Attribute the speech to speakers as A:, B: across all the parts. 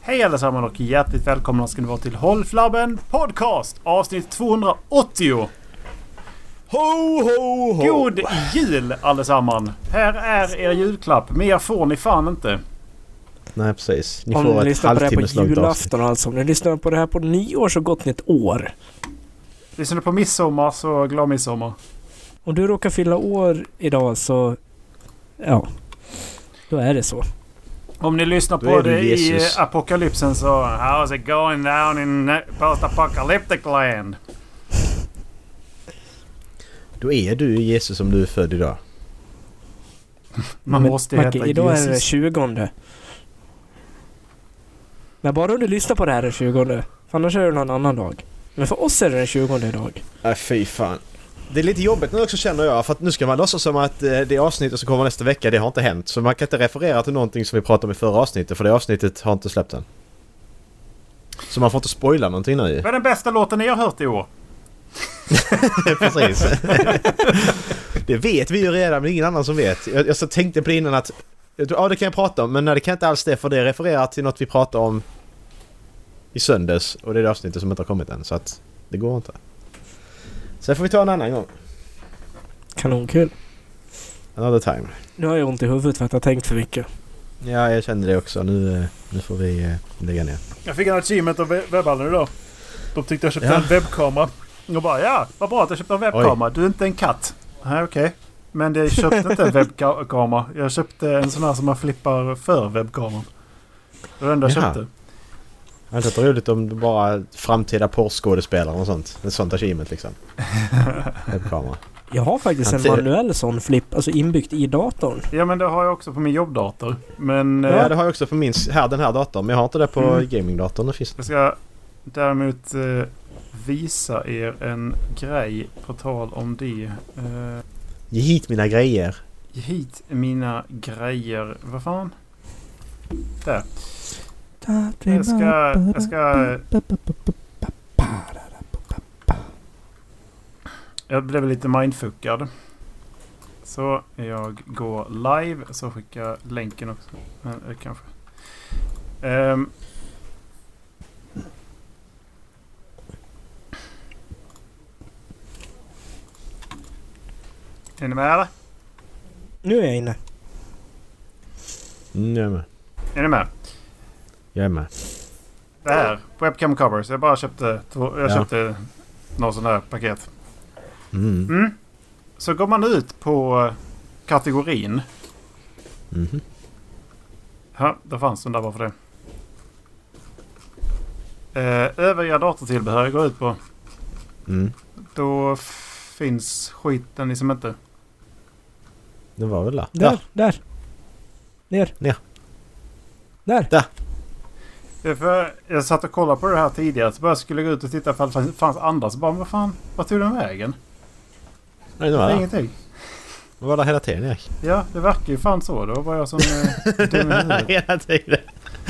A: Hej allesammans och hjärtligt välkomna ska ni vara till Håll Flabben Podcast avsnitt 280.
B: Ho, ho, ho!
A: God jul allesammans! Här är er julklapp. Mer får ni fan inte.
C: Nej precis. Ni
B: Om
C: får
B: ni
C: ett
B: lyssnar på det här på
C: halvtimmeslångt avsnitt.
B: julafton alltså. Om ni lyssnar på det här på nyår så gott ni ett år.
A: Lyssnar ni på midsommar så glad midsommar.
B: Om du råkar fylla år idag så... Ja. Då är det så.
A: Om ni lyssnar
C: Då
A: på
C: är du
A: det i
C: Jesus.
A: apokalypsen så... How's it going down in post apocalyptic land?
C: Då är du Jesus om du är född idag.
A: Man
B: Men,
A: måste
B: Macke,
A: heta
B: idag är det
A: Jesus.
B: 20. Men bara om du lyssnar på det här den 20. För annars är det någon annan dag. Men för oss är det den 20 idag.
C: Nej fy fan. Det är lite jobbigt nu också känner jag för att nu ska man låtsas som att eh, det avsnittet som kommer nästa vecka det har inte hänt. Så man kan inte referera till någonting som vi pratade om i förra avsnittet för det avsnittet har inte släppt än. Så man får inte spoila någonting nu
A: Vad är den bästa låten ni har hört i år?
C: Precis. det vet vi ju redan men ingen annan som vet. Jag, jag så tänkte på det innan att ja det kan jag prata om men nej, det kan jag inte alls det för det refererar till något vi pratade om i söndags och det är det avsnittet som inte har kommit än så att det går inte. Sen får vi ta en annan gång.
B: Kanonkul.
C: Another time.
B: Nu har jag ont i huvudet för att jag har tänkt för mycket.
C: Ja, jag kände det också. Nu, eh, nu får vi eh, lägga ner.
A: Jag fick en achievement av web- webbhallen idag. De tyckte jag köpte
C: Ja.
A: en webbkamera. Jag bara ja, vad bra att jag köpte en webbkamera. Du är inte en katt. Nej okej. Men jag köpte inte en webbkamera. Jag köpte en sån här som man flippar för webbkameran. Det var det enda jag
C: Jaha.
A: köpte.
C: Det hade varit roligt om det bara framtida porrskådespelare och sånt. Ett sånt achievement liksom. Webbkamera.
B: Jag har faktiskt en
C: Att det-
B: manuell sån flipp, alltså inbyggt i datorn.
A: Ja men det har jag också på min jobbdator. Men
C: Ja,
A: eh,
C: det har jag också på min, här, den här datorn. Men jag har inte det på
A: Mm.
C: gamingdatorn. Det finns
A: jag ska däremot eh, visa er en grej på tal om det. Eh,
C: Ge hit mina grejer.
A: Ge hit mina grejer. Vad fan? Jag ska... Jag ska... eh, Jag blev lite mindfuckad. Så jag går live så skickar jag länken också. Men, eh, kanske. Ehm. Är ni med eller?
B: Nu är jag inne.
C: Mm, jag är med.
A: Är ni med?
C: Jag är med.
A: Det här. Webcam covers. Jag bara köpte, två, jag
C: Ja.
A: köpte någon sån här paket.
C: Mm.
A: Mm. Så går man ut på eh, kategorin.
C: Mhm.
A: Ja, där fanns den där bara för det. Eh, övriga datortillbehör jag går ut på.
C: Mm.
A: Då finns skiten liksom inte.
C: Det var väl där.
B: Där,
C: Ja,
B: där. Ner.
C: Ner.
B: Där.
A: Eh, För jag satt och kollade på det här tidigare. Så bara skulle gå ut och titta ifall det fanns- fanns andra. Så bara, vad fan, vad tog den vägen?
C: nej, det
A: Det
C: var
A: är
C: där.
A: ingenting.
C: Det var där hela tiden Erik.
A: Ja, det verkar ju fan så. Det var bara jag som... eh, dum i huvudet.
C: hela tiden.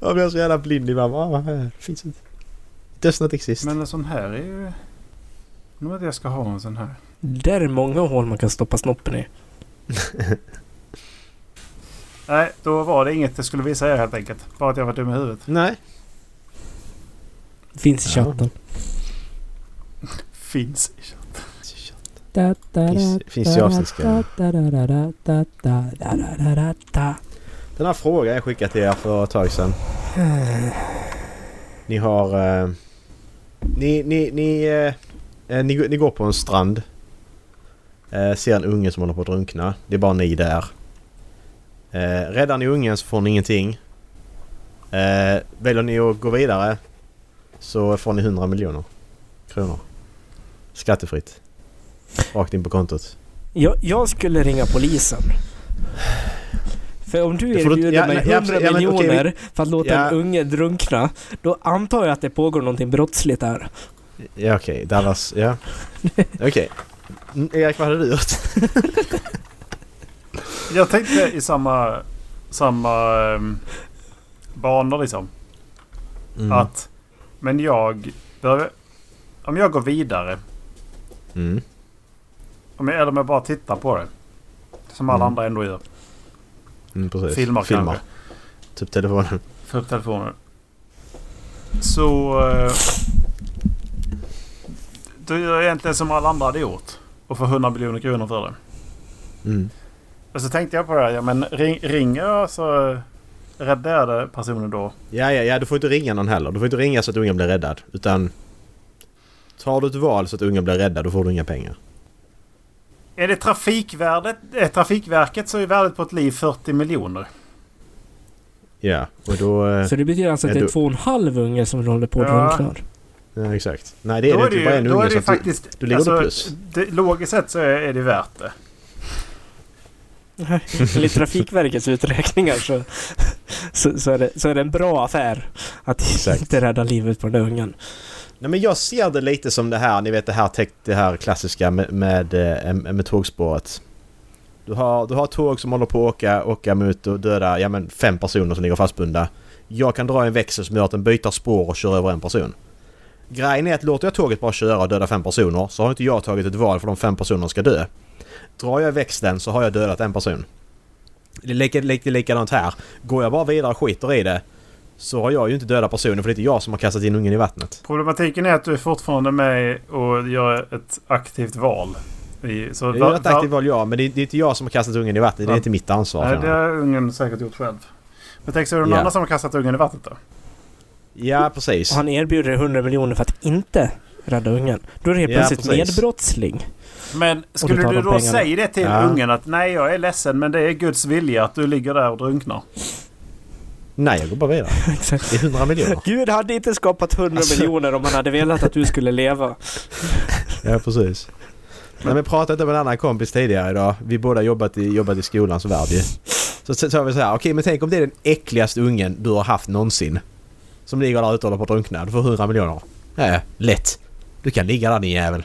C: jag blev så jävla blind i mamma. Ah, varför finns inte. It does not exist.
A: Men en sån här är ju... Nu vet jag jag ska ha en sån här.
B: Där är många hål man kan stoppa snoppen i.
A: Nej, då var det inget jag skulle visa er helt enkelt. Bara att jag var dum i huvudet.
C: Nej.
B: Det Finns i
C: Ja.
B: chatten.
A: Finns i
B: Da, da,
C: Finns-
B: da,
C: finns i
B: da,
C: avsnittskrivaren.
B: da, da, da, da, da, da, da, da, da, da, da.
C: Den här frågan jag skickade till er för ett tag sedan. Ni har... Eh, ni, ni, ni, eh, eh, ni, ni går på en strand. Eh, ser en unge som håller på att drunkna. Det är bara ni där. Eh, räddar ni ungen så får ni ingenting. Eh, väljer ni att gå vidare så får ni 100 miljoner kronor. Skattefritt. Rakt in på kontot.
B: Jag, jag skulle ringa polisen. För om du
C: Det får du-
B: erbjuder
C: ja,
B: mig
C: nej,
B: 100
C: ja, absolut. Ja, men okej, vi-
B: miljoner för att låta
C: Ja.
B: en unge drunkna, då antar jag att det pågår någonting brottsligt där.
C: Ja okej, Dallas, ja. Okej. Mm, Erik vad hade du gjort?
A: Jag tänkte i samma, samma um, banor liksom.
C: Mm.
A: Att, men jag behöver... Om jag går vidare,
C: Mm.
A: om jag, eller om jag bara tittar på det. Som alla
C: Mm.
A: andra ändå gör.
C: Mm, precis.
A: Filmar,
C: Filmar.
A: kanske.
C: Typ telefonen.
A: Få upp telefonen. Så... Eh, du gör egentligen som alla andra hade gjort. Och får 100 miljoner kronor för det.
C: Mm.
A: Och så tänkte jag på det här. Ja, men ring, ringer jag så räddar jag den personen då.
C: Ja, ja, ja. Du får inte ringa någon heller. Du får inte ringa så att ungen blir räddad. Utan... Tar du ett val så att ungen blir räddad, då får du inga pengar.
A: Är det trafikvärdet, eh, Trafikverket så är värdet på ett liv 40 miljoner.
C: Ja, och då... eh,
B: Så det betyder alltså att
C: Ja,
B: det är
C: då-
B: två och en halv unge som håller på att
A: Ja.
B: drunkna.
C: Ja, exakt. Nej, det är
A: då
C: det inte. Det är bara en
A: då är
C: unge.
A: det
C: Så
A: ju
C: att du,
A: faktiskt... alltså,
C: du ligger på plus.
A: det, logiskt sett så är, är det värt det.
B: Enligt Trafikverkets uträkningar så, så, så, är det, så är det en bra affär att
C: Exakt.
B: inte rädda livet på den ungen.
C: Nej, men jag ser det lite som det här, ni vet det här, tech- det här klassiska med, med, eh, med, med tågspåret. Du har, du har tåg som håller på att åka, åka mot och döda ja, men fem personer som ligger fastbundna. Jag kan dra en växel som gör att den byter spår och kör över en person. Grejen är att låter jag tåget bara köra och döda fem personer så har inte jag tagit ett val för de fem personerna ska dö. Drar jag växeln så har jag dödat en person. Det är lika, lika, likadant här. Går jag bara vidare och skiter i det så har jag ju inte dödat personen för det är inte jag som har kastat in ungen i vattnet.
A: Problematiken är att du är fortfarande med och gör ett aktivt val. I, så
C: Jag gör
A: va-
C: ett
A: va-
C: aktivt val ja, men det är, det är inte jag som har kastat ungen i vattnet. Det
A: Ja.
C: är inte mitt ansvar.
A: Nej,
C: känner
A: det
C: jag.
A: har ungen säkert gjort själv. Men tänk så är det någon
C: Ja.
A: annan som har kastat ungen i vattnet då?
C: Ja, precis.
B: Och han erbjuder 100 miljoner för att inte rädda ungen. Då är det helt
C: Ja,
B: plötsligt
C: precis.
B: medbrottsling.
A: Men
B: Och du
A: skulle
B: tar
A: du
B: de
A: då
B: pengarna.
A: säga det till
C: Ja.
A: ungen att nej jag är ledsen men det är Guds vilja att du ligger där och drunknar?
C: Nej, jag går bara vidare.
B: Exakt.
C: Det är 100 miljoner.
B: Gud hade inte skapat 100
C: Alltså-
B: miljoner om han hade velat att du skulle leva.
C: Ja, precis. Nej, men pratade inte med en annan kompis tidigare idag. Vi båda jobbat i, jobbat i skolans värld ju. Så så sa vi så här, okej men tänk om det är den äckligaste ungen du har haft någonsin. Som ligger där ute och håller på att drunkna. Du får 100 miljoner. Ja, ja, lätt. Du kan ligga där din jävel.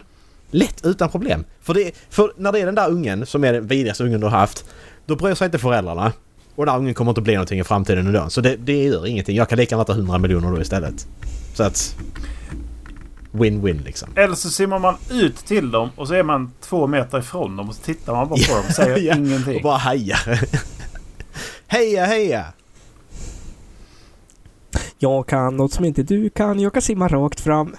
C: Lätt, utan problem. För, det, för när det är den där ungen som är den vidrigaste ungen du har haft. Då bryr sig inte föräldrarna. Och den där ungen kommer inte bli någonting i framtiden ändå. Så det, det gör ingenting. Jag kan lika gärna ta 100 miljoner då istället. Så att... Win-win liksom.
A: Eller så simmar man ut till dem och så är man två meter ifrån dem och så tittar man bara på dem och säger
C: Ja.
A: ingenting.
C: Och bara heja. heja, heja!
B: Jag kan något som inte du kan. Jag kan simma rakt fram.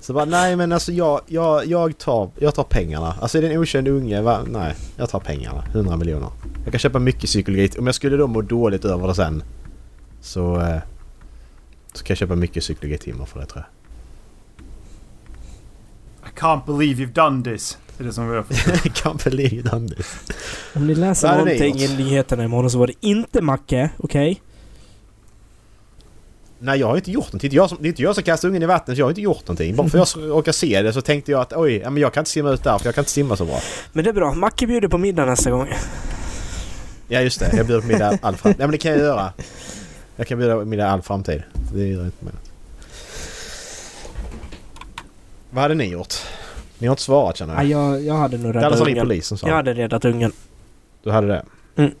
C: Så bara nej men alltså jag, jag, jag, tar, jag tar pengarna. Alltså är det en okänd unge? Va? Nej, jag tar pengarna. 100 miljoner. Jag kan köpa mycket cykelgrej. Om jag skulle då må dåligt över det sen så, eh, så kan jag köpa mycket cykelgrej-timmar för det tror jag.
A: I can't believe you've done this. Det är det som vi har fått.
C: Can't believe it, Anders.
B: Om ni läser
C: Vad hade ni
B: någonting i
C: gjort?
B: nyheterna imorgon så var det inte Macke, okej?
C: Nej jag har inte gjort något. Det är inte jag som, det är inte jag som kastar ungen i vattnet. så Jag har inte gjort någonting. Bara för jag råkar se det så tänkte jag att oj, ja, men jag kan inte simma ut där för jag kan inte simma så bra.
B: Men det är bra. Macke bjuder på middag nästa gång.
C: Ja just det, jag bjuder på middag all framtid. Nej men det kan jag göra. Jag kan bjuda på middag all framtid. Det gör jag inte med. Vad hade ni gjort? Ni har inte svarat känner
B: Nej,
C: jag.
B: jag, jag hade nog
C: Dallas
B: räddat
C: har ringt
B: ungen.
C: polisen sa
B: Jag
C: han.
B: hade räddat ungen.
C: Du hade det?
A: Jag
C: Det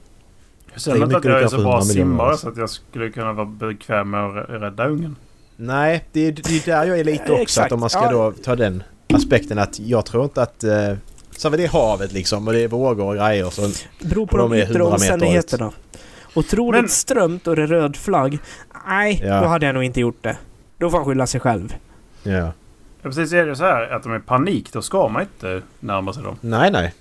C: är
A: känner inte att
C: mycket
A: jag är
C: lika
A: så
C: för
A: bra
C: 100 miljoner,
A: simmare
C: alltså.
A: så att jag skulle kunna vara bekväm med att rä- rädda ungen.
C: Nej, det är, det är där jag är lite
B: Ja,
C: också.
B: exakt.
C: Att om man ska
B: Ja.
C: då ta den aspekten att jag tror inte att... Eh, så var det är havet liksom och det är vågor och grejer. Så,
B: Beror på
C: Och
B: de,
C: de är
B: yttre
C: 100 meter
B: omständigheterna. Otroligt
A: Men-
B: strömt och det är röd flagg. Nej,
C: Ja.
B: då hade jag nog inte gjort det. Då får han skylla sig själv.
C: ja.
A: Ja, precis, är det så här att de är i panik då ska man inte närma sig dem.
C: Nej, nej.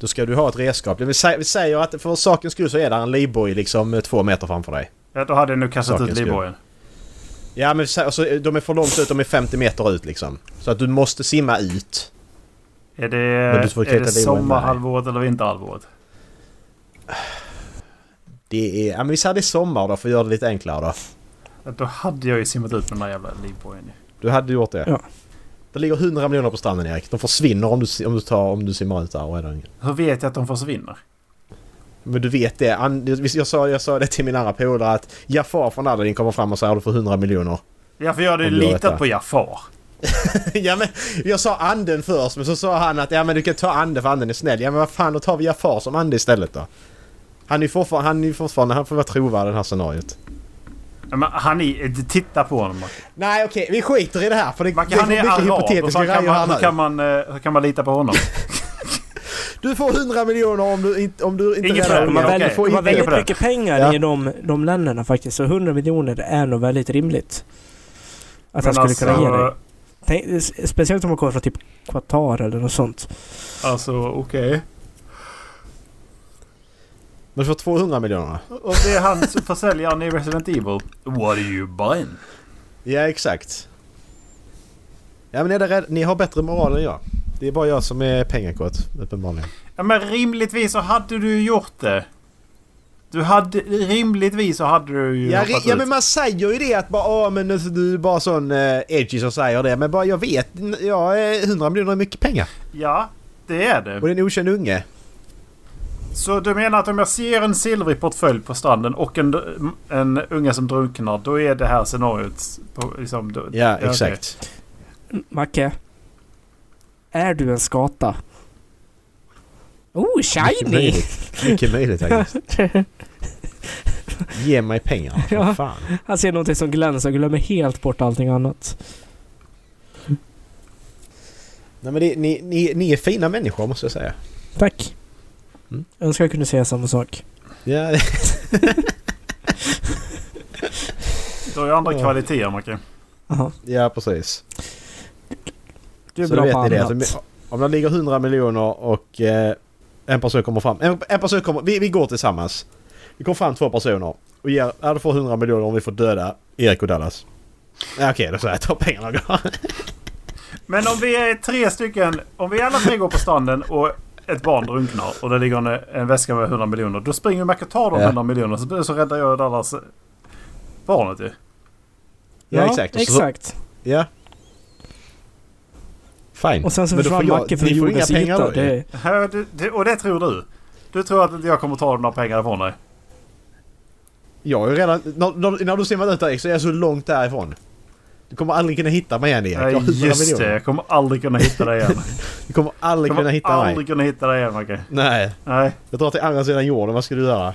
C: Då ska du ha ett redskap. Det vill säga, vi säger att för sakens skull så är där en livboj liksom eh, två meter framför dig.
A: Ja, då hade jag nog kastat
C: Saken
A: ut
C: skulle-
A: livbojen.
C: Ja men så- alltså, de är för långt ut, de är 50 meter ut liksom. Så att du måste simma ut.
A: Är det,
C: du får
A: är
C: klättra
A: det
C: livbojen med.
A: sommarhalvåret eller vinterhalvåret?
C: Det är, ja men vi säger det är sommar då för att göra det lite enklare då.
A: Ja, Då hade jag ju simmat ut med den där jävla livbojen. ju.
C: Du hade gjort det.
B: Ja.
C: Det ligger 100 miljoner på stranden Erik. De försvinner om du, om du, tar, om du simmar ut där och räddar ungen.
A: Hur vet jag att de försvinner?
C: Men du vet det. An, jag, sa, jag sa det till min andra polare att Jafar från Aladdin kommer fram och säger du får 100 miljoner.
A: Ja, för jag hade ju
C: Om du har rätt där.
A: litat på Jafar.
C: ja men jag sa anden först men så sa han att ja men du kan ta anden för anden är snäll. Ja men vad fan då tar vi Jafar som ande istället då. Han är ju fortfarande, han, är ju fortfarande, han får vara trovärdig i det här scenariot.
A: Ja, Men han är... Titta på honom. Macke.
C: Nej okej, vi skiter i det här för det,
A: Macke,
C: det
A: han är
C: kommer mycket
A: arab. Hur
C: hypotetiska
A: fan
C: grejer
A: kan man,
C: här
A: hur kan
C: nu.
A: man, eh, hur kan man lita på honom?
C: Du får 100 miljoner om du inte, om du inte
A: Inget
C: räddar
A: problem,
B: De har
C: ungen.
A: okej.
B: väldigt,
C: Du får
B: de har
C: inte-
A: tänker
B: väldigt
A: på det.
B: mycket pengar
C: Ja.
B: i de, de länderna faktiskt. Så 100 miljoner är nog väldigt rimligt. Att han
A: Men
B: skulle kunna ge dig.
A: alltså,
B: Tänk, speciellt om man kommer från typ Qatar eller något sånt.
A: alltså okej.
C: Men du får 200 miljoner.
A: Och det är han som försäljaren i Resident Evil. What are you buying?
C: Ja, exakt. Ja, men är det rädd? ni har bättre moral än jag. Det är bara jag som är pengakåt, uppenbarligen.
A: Ja men rimligtvis så hade du ju gjort det. Du hade... Rimligtvis så hade du ju
C: Ja,
A: hoppat
C: ja,
A: ut.
C: men man säger ju det att bara åh, men alltså, du är bara sån eh, edgy som säger det. Men bara jag vet, n- ja, eh, 100 miljoner är mycket pengar.
A: Ja, det är
C: Och
A: det.
C: det är en okänd unge.
A: Så du menar att om jag ser en silvrig portfölj på stranden och en, en unge som drunknar, då är det här scenariot... På, liksom, då,
C: Ja,
A: okej.
C: exakt.
B: Macke. Är du en skata? Oh,
C: Mycket
B: shiny!
C: möjligt. Mycket möjligt faktiskt. Ge mig pengar.
B: Ja.
C: Ja. Fan.
B: Han ser någonting som glänser och glömmer helt bort allting annat.
C: Nej, men det, ni, ni, ni är fina människor måste jag säga.
B: Tack.
C: Mm.
B: Önskar jag kunde säga samma sak.
C: Ja,
A: Du har ju andra
C: Ja.
A: kvaliteter, Macke.
B: Jaha.
C: ja precis.
B: Du är
C: Så då
B: bra
C: vet
B: på
C: ni det.
B: annat.
C: Alltså, om det ligger 100 miljoner och eh, en person kommer fram. En, en person kommer, vi, vi går tillsammans. Vi kommer fram två personer och ger, ja du får 100 miljoner om vi får döda Erik och Dallas. Ja, Okej, då så jag tar pengarna och går.
A: Men om vi är tre stycken, om vi alla tre går på stranden och ett barn drunknar och det ligger en, en väska med 100 miljoner. Då springer Mac och tar de
C: Ja.
A: 100 miljoner så, så räddar jag Dallas eh, barnet ju.
C: Ja, exakt. Och så-
B: exakt.
C: Ja. Fine.
B: Och sen så
C: Men då
B: försvann
C: får jag-
B: Macke
C: ni
B: från
C: får inga
B: jordens
C: pengar
B: yta.
C: då, ju.
B: Det,
A: Ja, det- det- Och det tror du? Du tror att inte jag kommer ta de där pengarna från dig?
C: Jag är ju redan... När, när, när du simmar ut där Erik, så är jag så långt därifrån. Du kommer aldrig kunna hitta mig igen Erik. Jag har
A: Nej
C: 100
A: just det,
C: miljoner.
A: jag kommer aldrig kunna hitta dig igen.
C: Du kommer aldrig
A: Jag
C: kunna
A: kommer
C: hitta mig.
A: aldrig kunna hitta dig igen Macke.
C: Nej.
A: Nej.
C: Jag drar till andra sidan jorden. Vad ska du göra?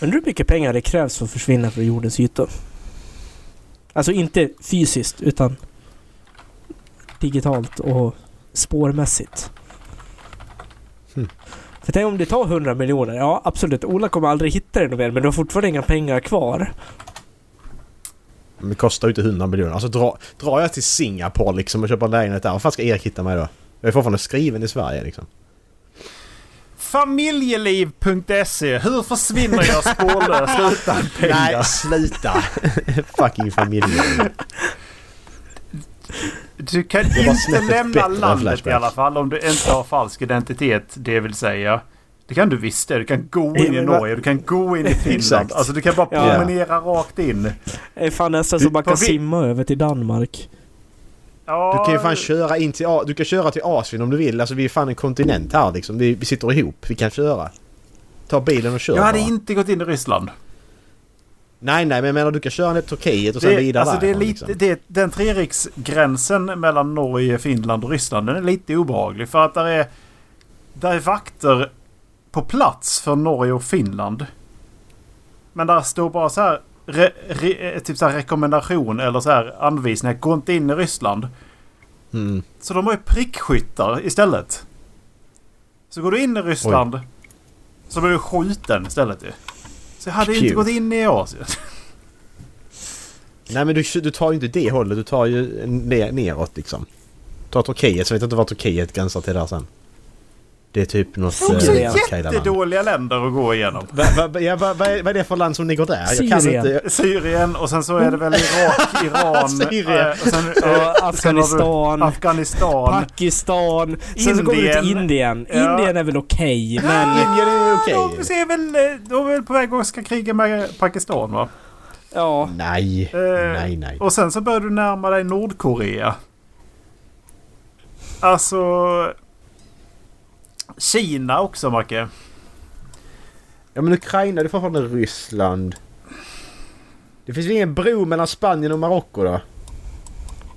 B: undrar hur mycket pengar det krävs för att försvinna från jordens yta. Alltså inte fysiskt utan digitalt och spårmässigt.
A: Hm.
C: Hmm.
B: För tänk om det tar 100 miljoner. Ja absolut, Ola kommer aldrig hitta dig mer men du har fortfarande inga pengar kvar.
C: Men det kostar ju inte 100 miljoner. Alltså dra, drar jag till Singapore liksom och köper en lägenhet där. Vad fan ska Erik hitta mig då? Jag är fortfarande skriven i Sverige liksom.
A: Familjeliv.se E. Hur försvinner jag spårlöst utan pengar?
C: Nej, sluta! Fucking familjen.
A: Du kan
C: var
A: inte
C: snäppet bättre
A: lämna
C: än
A: landet i
C: Flashback.
A: alla fall om du inte har falsk identitet, det vill säga. Det kan du visst det. Du kan gå in i
B: men-
A: Norge, du kan gå in i Finland.
C: Exakt.
A: Alltså du kan bara
B: Ja.
A: promenera rakt in.
B: Det är fan nästan som man
A: På
B: kan
A: vi-
B: simma över till Danmark.
A: Ja,
C: Du kan ju fan köra in till... A- Du kan köra till Asien om du vill. Alltså vi är fan en kontinent här liksom. Vi, vi sitter ihop. Vi kan köra. Ta bilen och kör
A: jag hade
C: bara.
A: inte gått in i Ryssland.
C: Nej, nej, men jag menar du kan köra ner till Turkiet och sen
A: Det,
C: vidare
A: alltså, det är
C: därifrån,
A: lite,
C: liksom.
A: det, är- den treriksgränsen mellan Norge, Finland och Ryssland den är lite obehaglig. För att där är, där är vakter på plats för Norge och Finland. Men där står bara så här, re, re, eh, typ så här rekommendation eller så här anvisningar. Gå inte in i Ryssland.
C: Mm.
A: Så de har ju prickskyttar istället. Så går du in i Ryssland så blir du skjuten istället ju. Så jag hade ju inte
C: Pew.
A: gått in i Asien.
C: Nej, men du, du tar ju inte det hållet. Du tar ju ner, neråt liksom. Ta Turkiet, så vet jag inte var Turkiet gränsar till där sen. Det är typ något...
A: Det är också
B: Det är
C: Vad
A: jättedåliga länder att gå igenom.
C: va, va, ja, va, va, är- vad är det för land som ligger där? Jag kan
B: Syrien.
C: inte...
A: Syrien och sen så är det väl Irak, Iran,
C: Syrien.
A: eh, och sen, eh, sen
B: Ja,
A: har du
B: Afghanistan,
A: Afghanistan.
B: Pakistan. Sen så kommer du till
A: Indien.
B: Indien.
A: Ja.
B: Indien är väl okej men...
A: Ah,
C: Indien är okej.
A: De, är väl, eh, de är väl på väg att ska kriga med Pakistan va?
B: Ja.
C: Nej,
A: Eh,
C: nej, nej.
A: Och sen så börjar du närma dig Nordkorea. Alltså... Kina också Macke.
C: Ja, men Ukraina, det är fortfarande Ryssland. Det finns ju ingen bro mellan Spanien och Marocko då?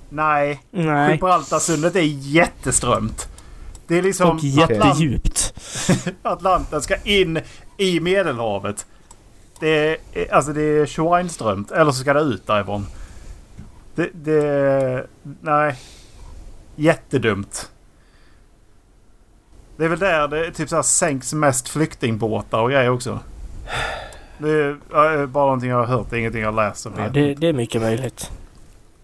A: Nej,
B: Nej.
A: Gibraltarsundet är jätteströmt. Det är liksom
B: Och
A: Atlant-
B: jättedjupt.
A: Atlanten ska in i Medelhavet. Det är, alltså det är Schweinströmt. Eller så ska det ut därifrån. Det... det nej. Jättedumt. Det är väl där det typ så här, sänks mest flyktingbåtar och grejer också. Det är ja, bara någonting jag har hört. Det är ingenting jag läst.
B: Ja, det, det är mycket möjligt.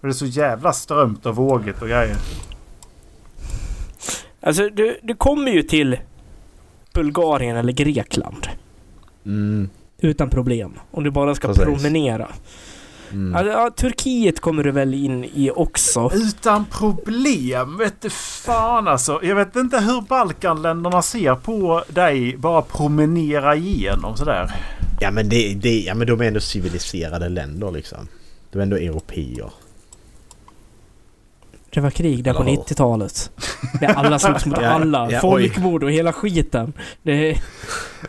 A: Det är så jävla strömt och vågigt och grejer.
B: Alltså, du, du kommer ju till Bulgarien eller Grekland
C: Mm.
B: utan problem. Om du bara ska
C: Precis.
B: promenera.
C: Mm.
B: Alltså, ja, Turkiet kommer du väl in i också?
A: Utan problem! Vet du fan alltså. Jag vet inte hur Balkanländerna ser på dig bara promenera igenom sådär.
C: Ja, men det, det, ja men de är ändå civiliserade länder liksom. De är ändå europeer.
B: Det var krig där på
C: Hallå.
B: 90-talet. Där alla slogs mot
C: Ja,
B: alla.
C: ja, oj.
B: Folkmord och hela skiten. Det,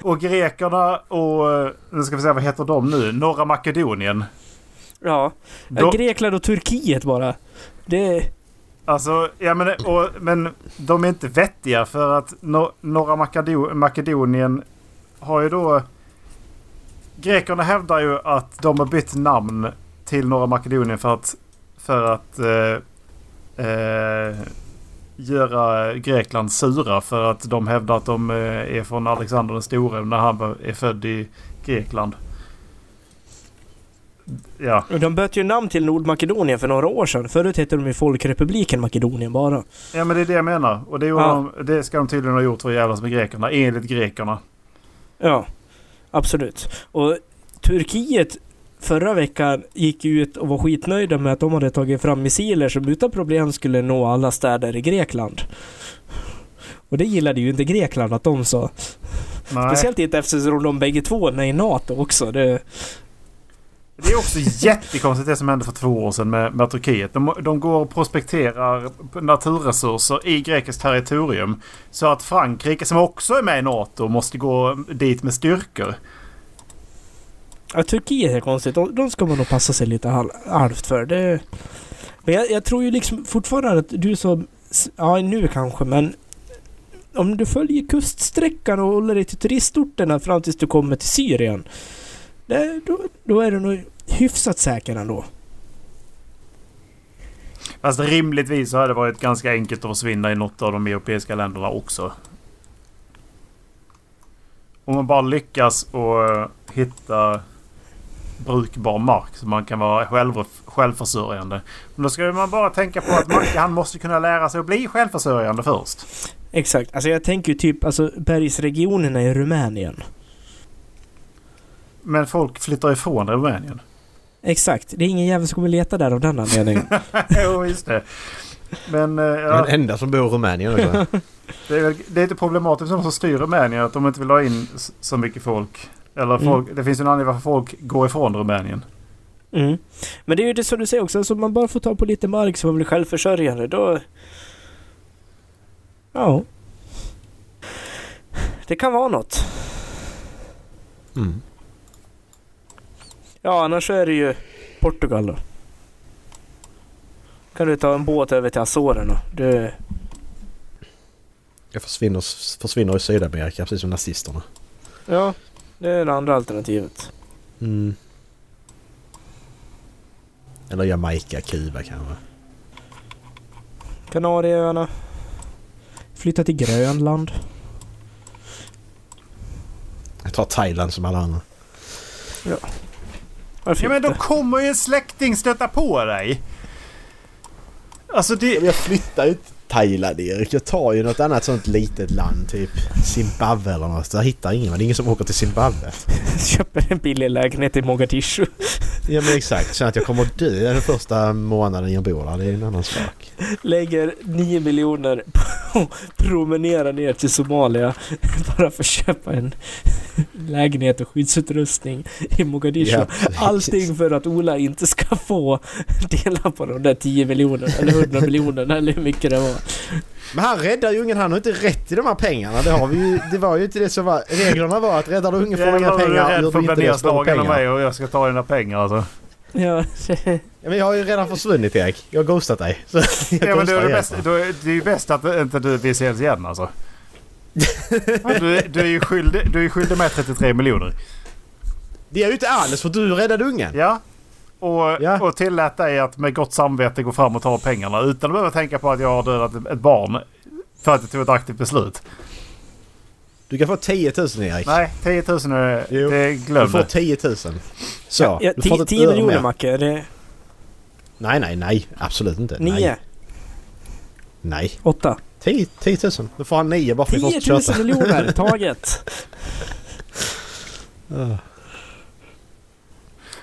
A: Och grekerna och... eh, Nu ska vi se vad heter de nu? Norra Makedonien.
B: ja.
A: De,
B: Grekland och Turkiet bara. Det...
A: alltså, ja men, och, men de är inte vettiga för att no, Norra Makedo, Makedonien har ju då... Grekerna hävdar ju att de har bytt namn till Norra Makedonien för att... För att... Eh, eh, göra Grekland sura för att de hävdar att de eh, är från Alexander den store när han var- är född i Grekland. Ja.
B: och De bytte ju namn till Nordmakedonien för några år sedan. Förut hette de ju Folkrepubliken Makedonien bara.
A: Ja men det är det jag menar. Och det, gjorde
B: Ja.
A: de, det ska de tydligen ha gjort för att jävlas med grekerna. Enligt grekerna.
B: Ja, absolut. Och Turkiet förra veckan gick ju ut och var skitnöjda med att de hade tagit fram missiler som utan problem skulle nå alla städer i Grekland. Och det gillade ju inte Grekland att de sa.
A: Nej.
B: Speciellt inte eftersom de bägge två är med i NATO också. Det,
A: Det är också jättekonstigt det som hände för två år sedan med, med Turkiet. De, de går och prospekterar naturresurser i grekiskt territorium. Så att Frankrike som också är med i NATO måste gå dit med styrkor.
B: ja, Turkiet är konstigt. De, de ska man nog passa sig lite hal- halvt för. Det, men jag, jag tror ju liksom fortfarande att du som... s- Ja, nu kanske, men... Om du följer kuststräckan och håller dig till turistorterna fram tills du kommer till Syrien. Det, då, då är du nog hyfsat säker ändå.
A: Fast rimligtvis så hade det varit ganska enkelt att försvinna i något av de europeiska länderna också. Om man bara lyckas och eh, hitta brukbar mark så man kan vara själv, självförsörjande. Men då ska man bara tänka på att Macke han måste kunna lära sig att bli självförsörjande först.
B: Exakt. Alltså jag tänker ju typ alltså bergsregionerna i Rumänien.
A: Men folk flyttar ifrån Rumänien.
B: Exakt. Det är ingen jävel som kommer leta där av den anledningen.
A: jo, just det. Men eh,
C: Det är
A: ja,
C: den enda som bor i Rumänien också.
A: det, är väl, det är lite problematiskt för de som styr Rumänien att de inte vill ha in s- så mycket folk. Eller folk, det finns ju en anledning varför folk går ifrån Rumänien.
B: Mm. Men det är ju det som du säger också, alltså om man bara får ta på lite mark så man blir självförsörjande, då... Ja. Det kan vara något.
C: Mm.
B: Ja, annars så är det ju Portugal då. Kan du ta en båt över till Azorerna. Du...
C: Jag försvinner, försvinner i Sydamerika precis som nazisterna.
B: Ja, det är det andra alternativet.
C: Mm. Eller Jamaica, Kuba kanske.
B: Kanarieöarna. Flytta till Grönland.
C: Jag tar Thailand som alla andra.
B: Varför
A: Ja men då
B: inte?
A: kommer ju en släkting stöta på dig. Alltså det...
C: Jag flyttar ju inte Thailand Erik. Jag tar ju något annat sånt litet land. Typ Zimbabwe eller något. Där hittar ingen. men Det är ingen som åker till Zimbabwe.
B: Köper en billig lägenhet i Mogadishu.
C: Ja men exakt. Sen att jag kommer att dö den första månaden jag bor där. Det är en annan sak.
B: lägger 9 miljoner på att promenera ner till Somalia bara för att köpa en lägenhet och skyddsutrustning i Mogadishu.
C: Ja, precis.
B: Allting för att Ola inte ska få dela på de där 10 miljonerna eller 100 miljonerna eller hur mycket det var.
C: Men han räddar ju ungen, han har inte rätt till de här pengarna. Det, har vi ju, det var ju inte det som var... Reglerna var att räddar du ungen får du inga
A: Jävlar vad du
C: pengar.
A: är
C: Gör
A: rädd
C: du
A: för att
C: inte
A: bli
C: det så får du
A: nedslagen av
C: pengar.
A: mig och jag ska ta dina pengar alltså.
B: Ja,
C: Ja, men jag har ju redan försvunnit Erik. Jag har ghostat dig. Så jag
A: Ja, men
C: ghostar
A: det, är det,
C: igen.
A: bäst, då är, det är ju bäst att inte du vi ses igen alltså. Du, du, är ju skyldig, du är ju skyldig mig 33 miljoner.
C: Det är ju inte alls för du räddade ungen.
A: Ja. Och,
C: Ja.
A: och tillät dig att med gott samvete gå fram och ta pengarna utan att behöva tänka på att jag har dödat ett barn. För att jag tog ett aktivt beslut.
C: Du kan få 10 000 Erik.
A: Nej, 10 000 är
C: Jo.
A: det.
C: Du
A: Glöm
C: får
A: det.
C: typ- 10 000. Så.
B: Ja, ja,
C: du får
B: ti-
C: inte ett
B: 10
C: öre
B: miljoner
C: mer.
B: Macke, är det
C: Nej, nej, nej. Absolut inte. Nej.
B: 9?
C: nej.
B: 8?
C: 10, 10 000. Då får han 9 bara för att
B: 10 000
C: vi får köta.
B: miljoner taget!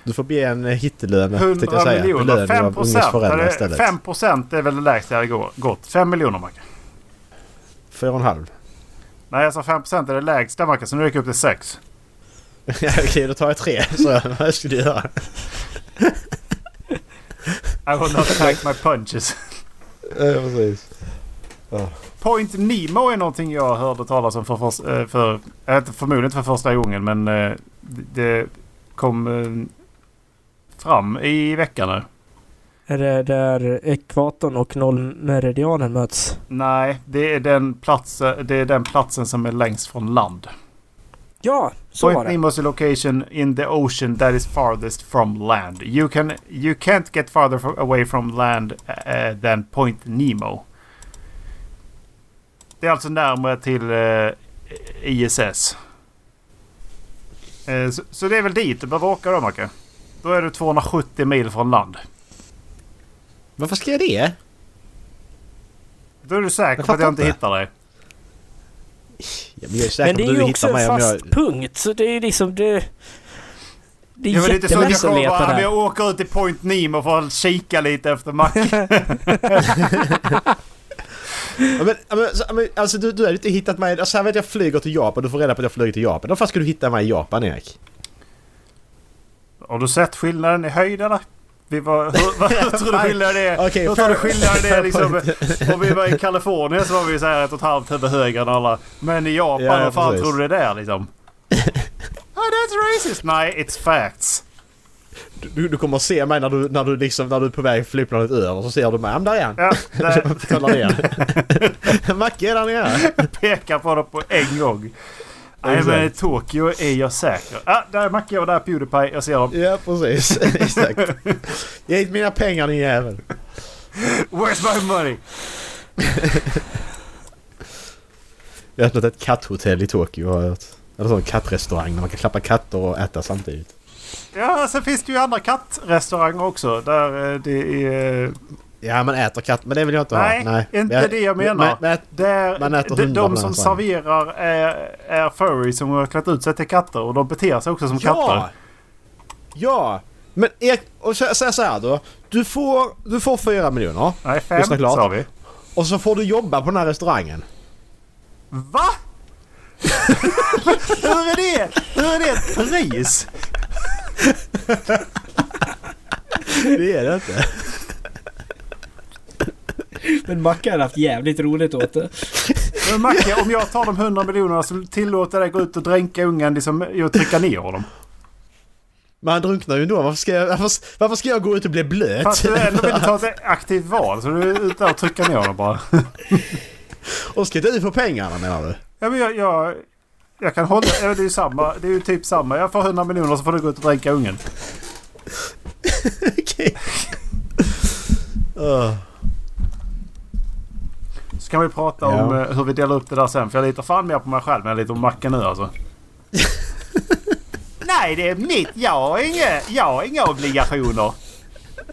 C: Du får be en eh, hittelön. tänkte jag
A: 100
C: säga.
A: miljoner.
C: Belöning
A: 5
C: av ungas
A: procent.
C: föräldrar istället.
A: 5 procent är väl det lägsta jag går- gått. 5 miljoner Macke.
C: 4,5.
A: Nej, jag sa 5 procent är det lägsta Macke. Så nu gick jag upp till 6.
C: Ja, Okej, då tar jag 3. Så vad ska du göra?
A: I will not take my punches.
C: Ja, precis.
A: Point Nemo är någonting jag hörde talas om för, först- eh, för, jag vet inte, förmodligen inte för första gången men eh, det det kom eh, fram i veckan nu.
B: Är det där ekvatorn och nollmeridianen möts?
A: Nej, det är, den platsen, det är den platsen som är längst från land.
B: Ja, så var
A: Point
B: det.
A: Nemo's location in the ocean that is farthest from land. You, can, you can't get farther fro- away from land eh, than Point Nemo. Det är alltså närmare till eh, ISS. Eh, så, så det är väl dit du behöver åka då, Macke? Då är du 270 mil från land.
C: Varför ska jag det?
A: Då är du säker
C: Jag
A: på att
C: fattar
A: jag inte
C: inte.
A: hittar dig.
C: Ja, men jag är säker
B: Men
C: på
B: det
C: att
B: är
C: du
B: ju också
C: hittar
B: en
C: mig om
B: fast
C: jag...
B: punkt, så det är liksom det... Det är
A: Ja, men det är inte så att jag
B: jättelätt att
A: kommer bara,
B: leta
A: "Ah, men
B: där.
A: jag åker ut till Point Nemo för att kika lite efter Macke.
C: Ja, men, ja, men, så- ja, men, alltså du, du har ju inte hittat mig... Alltså här vet jag flyger till Japan. Du får reda på att jag flyger till Japan. Varför ska du hitta mig i Japan Erik?
A: Har du sett skillnaden i höjd eller? Vi var, hur, vad, hur tror du skillnaden är?
C: Okej,
A: hur tror du
C: fair-
A: skillnaden är
C: fair
A: liksom?
C: point.
A: Om vi var i Kalifornien så var vi så här ett och ett halvt huvud högre än alla. Men i Japan,
C: Ja, ja,
A: vad fan
C: precis.
A: tror du det är liksom? Ah, that's racist! Nej, it's facts.
C: Du, du kommer se mig när du, när du liksom, när du är på väg flygplanet över så ser du mig. Ja men där är han!
A: Ja, det
C: Kolla ner. Macke är där nere.
A: pekar på det på en gång. Nej men i
C: Exakt.
A: Tokyo är jag säker. Ah, där är Macke och där är Pewdiepie. Jag ser dem.
C: Ja precis. Exakt. Ge hit mina pengar din jävel.
A: Where's my money?
C: Jag har öppnat ett katthotell i Tokyo har jag hört. Eller sån kattrestaurang där man kan klappa katter och äta samtidigt.
A: Ja, sen finns det ju andra kattrestauranger också. Där eh, det är...
C: Ja man äter katt men det vill jag inte
A: Nej,
C: ha.
A: inte
C: Men-
A: det jag menar.
C: Men, men,
A: Där,
C: Man äter
A: de,
C: hundar
A: de
C: på
A: som
C: den här
A: serverar
C: stranden.
A: är, är furries som har klätt ut sig till katter och de beter sig också som katter.
C: Ja! Men Erik, och så, så, så här då. Du får, du får fyra miljoner
A: Nej, fem
C: Lyssna klart.
A: sa vi.
C: och så får du jobba på den här restaurangen.
A: Va? Hur är det? Hur är det ett pris?
C: Det är det inte.
B: Men Macke har haft jävligt roligt åt det.
A: Men Macke, om jag tar de 100 miljonerna så tillåter jag dig gå ut och dränka ungen liksom, och trycka ner honom.
C: Men han drunknar ju ändå. Varför ska jag, varför, varför ska jag gå ut och bli blöt?
A: Fast du ändå vill ta ett aktivt val så du är ute och trycker ner honom bara.
C: Och ska du få pengarna menar du?
A: Ja, men jag, jag, jag kan hålla... ja, Det är ju samma. Det är ju typ samma. Jag får 100 miljoner så får du gå ut och dränka ungen.
C: Okej. Öh.
A: Så kan vi prata
C: Ja.
A: om eh, hur vi delar upp det där sen. För jag litar fan mer på mig själv än jag litar på Macke nu alltså. Nej, det är mitt. Jag har inga, jag har inga obligationer.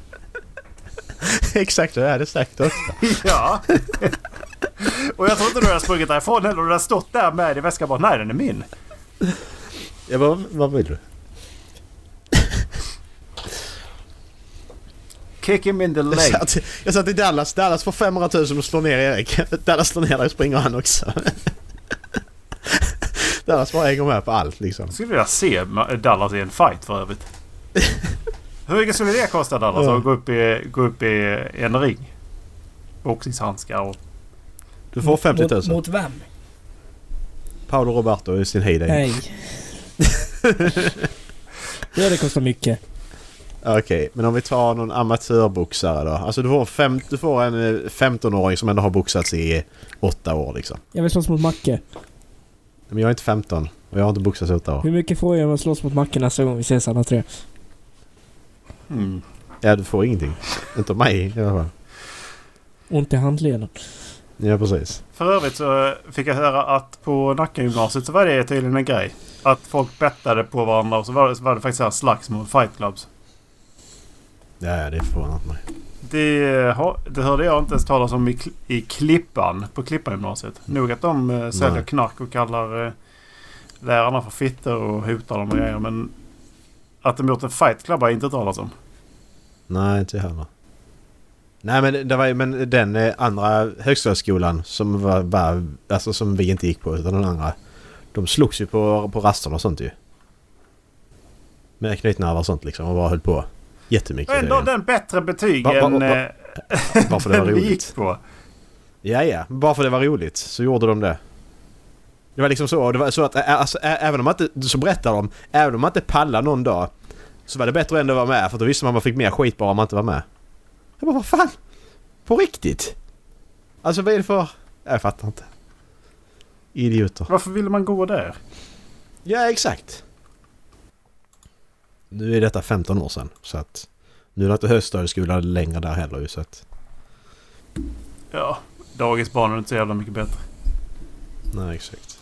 C: Exakt, det är det sagt också.
A: ja. Och jag tror inte du har sprungit därifrån heller. Du har stått där med i väskan bara. Nej, den är min.
C: Jag bara, vad vill du?
A: Kick him in the
C: Jag
A: leg.
C: satt, jag satt i Dallas. Dallas får 500 000 och slår ner Erik. Dallas slår ner dig och springer han också. Dallas bara hänger med på allt liksom.
A: Skulle vilja se Ma- Dallas i en fight för övrigt. Hur mycket skulle det kosta Dallas
C: Ja.
A: att gå upp i, gå upp i en ring? Boxningshandskar och...
C: Du får 50 000.
B: Mot, mot vem?
C: Paolo Roberto i sin heyday.
B: Nej. ja, det kostar mycket.
C: Okej, men om vi tar någon amatörboxare då. Alltså du får, fem, du får en eh, 15-åring som ändå har boxats i åtta år liksom.
B: Jag vill slåss mot Macke.
C: Men jag är inte 15 och jag har inte boxats i åtta år.
B: Hur mycket får jag om jag slåss mot Macke nästa gång vi ses alla tre?
C: Mm. Ja, du får ingenting. Inte av mig i alla fall.
B: Ont i handleden.
C: Ja, precis.
A: För övrigt så fick jag höra att på Nackagymnasiet så var det tydligen en grej. Att folk bettade på varandra och så var det, så var det faktiskt så här slagsmål, fight clubs.
C: Ja, ja, det förvånar inte mig.
A: Det, har- det hörde jag inte ens talas om i, Kl- i Klippan, på Klippagymnasiet. Nog att de eh, säljer
C: Nej.
A: knark och kallar eh, lärarna för fitter och hotar dem och grejer. Men att de gjort en fight club har jag inte hört talas om.
C: Nej, inte jag heller. Nej, men det var ju men den eh, andra högstadieskolan som var, var alltså som vi inte gick på utan den andra. De slogs ju på, på rasterna och sånt ju. Med knytnävar och sånt liksom och bara höll på. Jättemycket.
A: Och ändå
C: tydligen.
A: den bättre betyg
C: Va- va- va-
A: än eh,
C: Varför det var
A: den vi
C: roligt.
A: gick på.
C: Ja, ja. Bara för det var roligt så gjorde de det. Det var liksom så. Det var så att ä- alltså, ä- även om man inte... Så berättar de. Även om man inte pallar någon dag. Så var det bättre ändå att vara med. För då visste man att man fick mer skit bara om man inte var med. Jag bara, vad fan? På riktigt? Alltså vad är det för... Jag fattar inte. Idioter.
A: Varför ville man gå där?
C: Ja, exakt. Nu är detta 15 år sedan. Så att... Nu är det inte högstadieskola längre där heller ju så att...
A: Ja, dagisbarnen är inte så jävla mycket bättre.
C: Nej, exakt.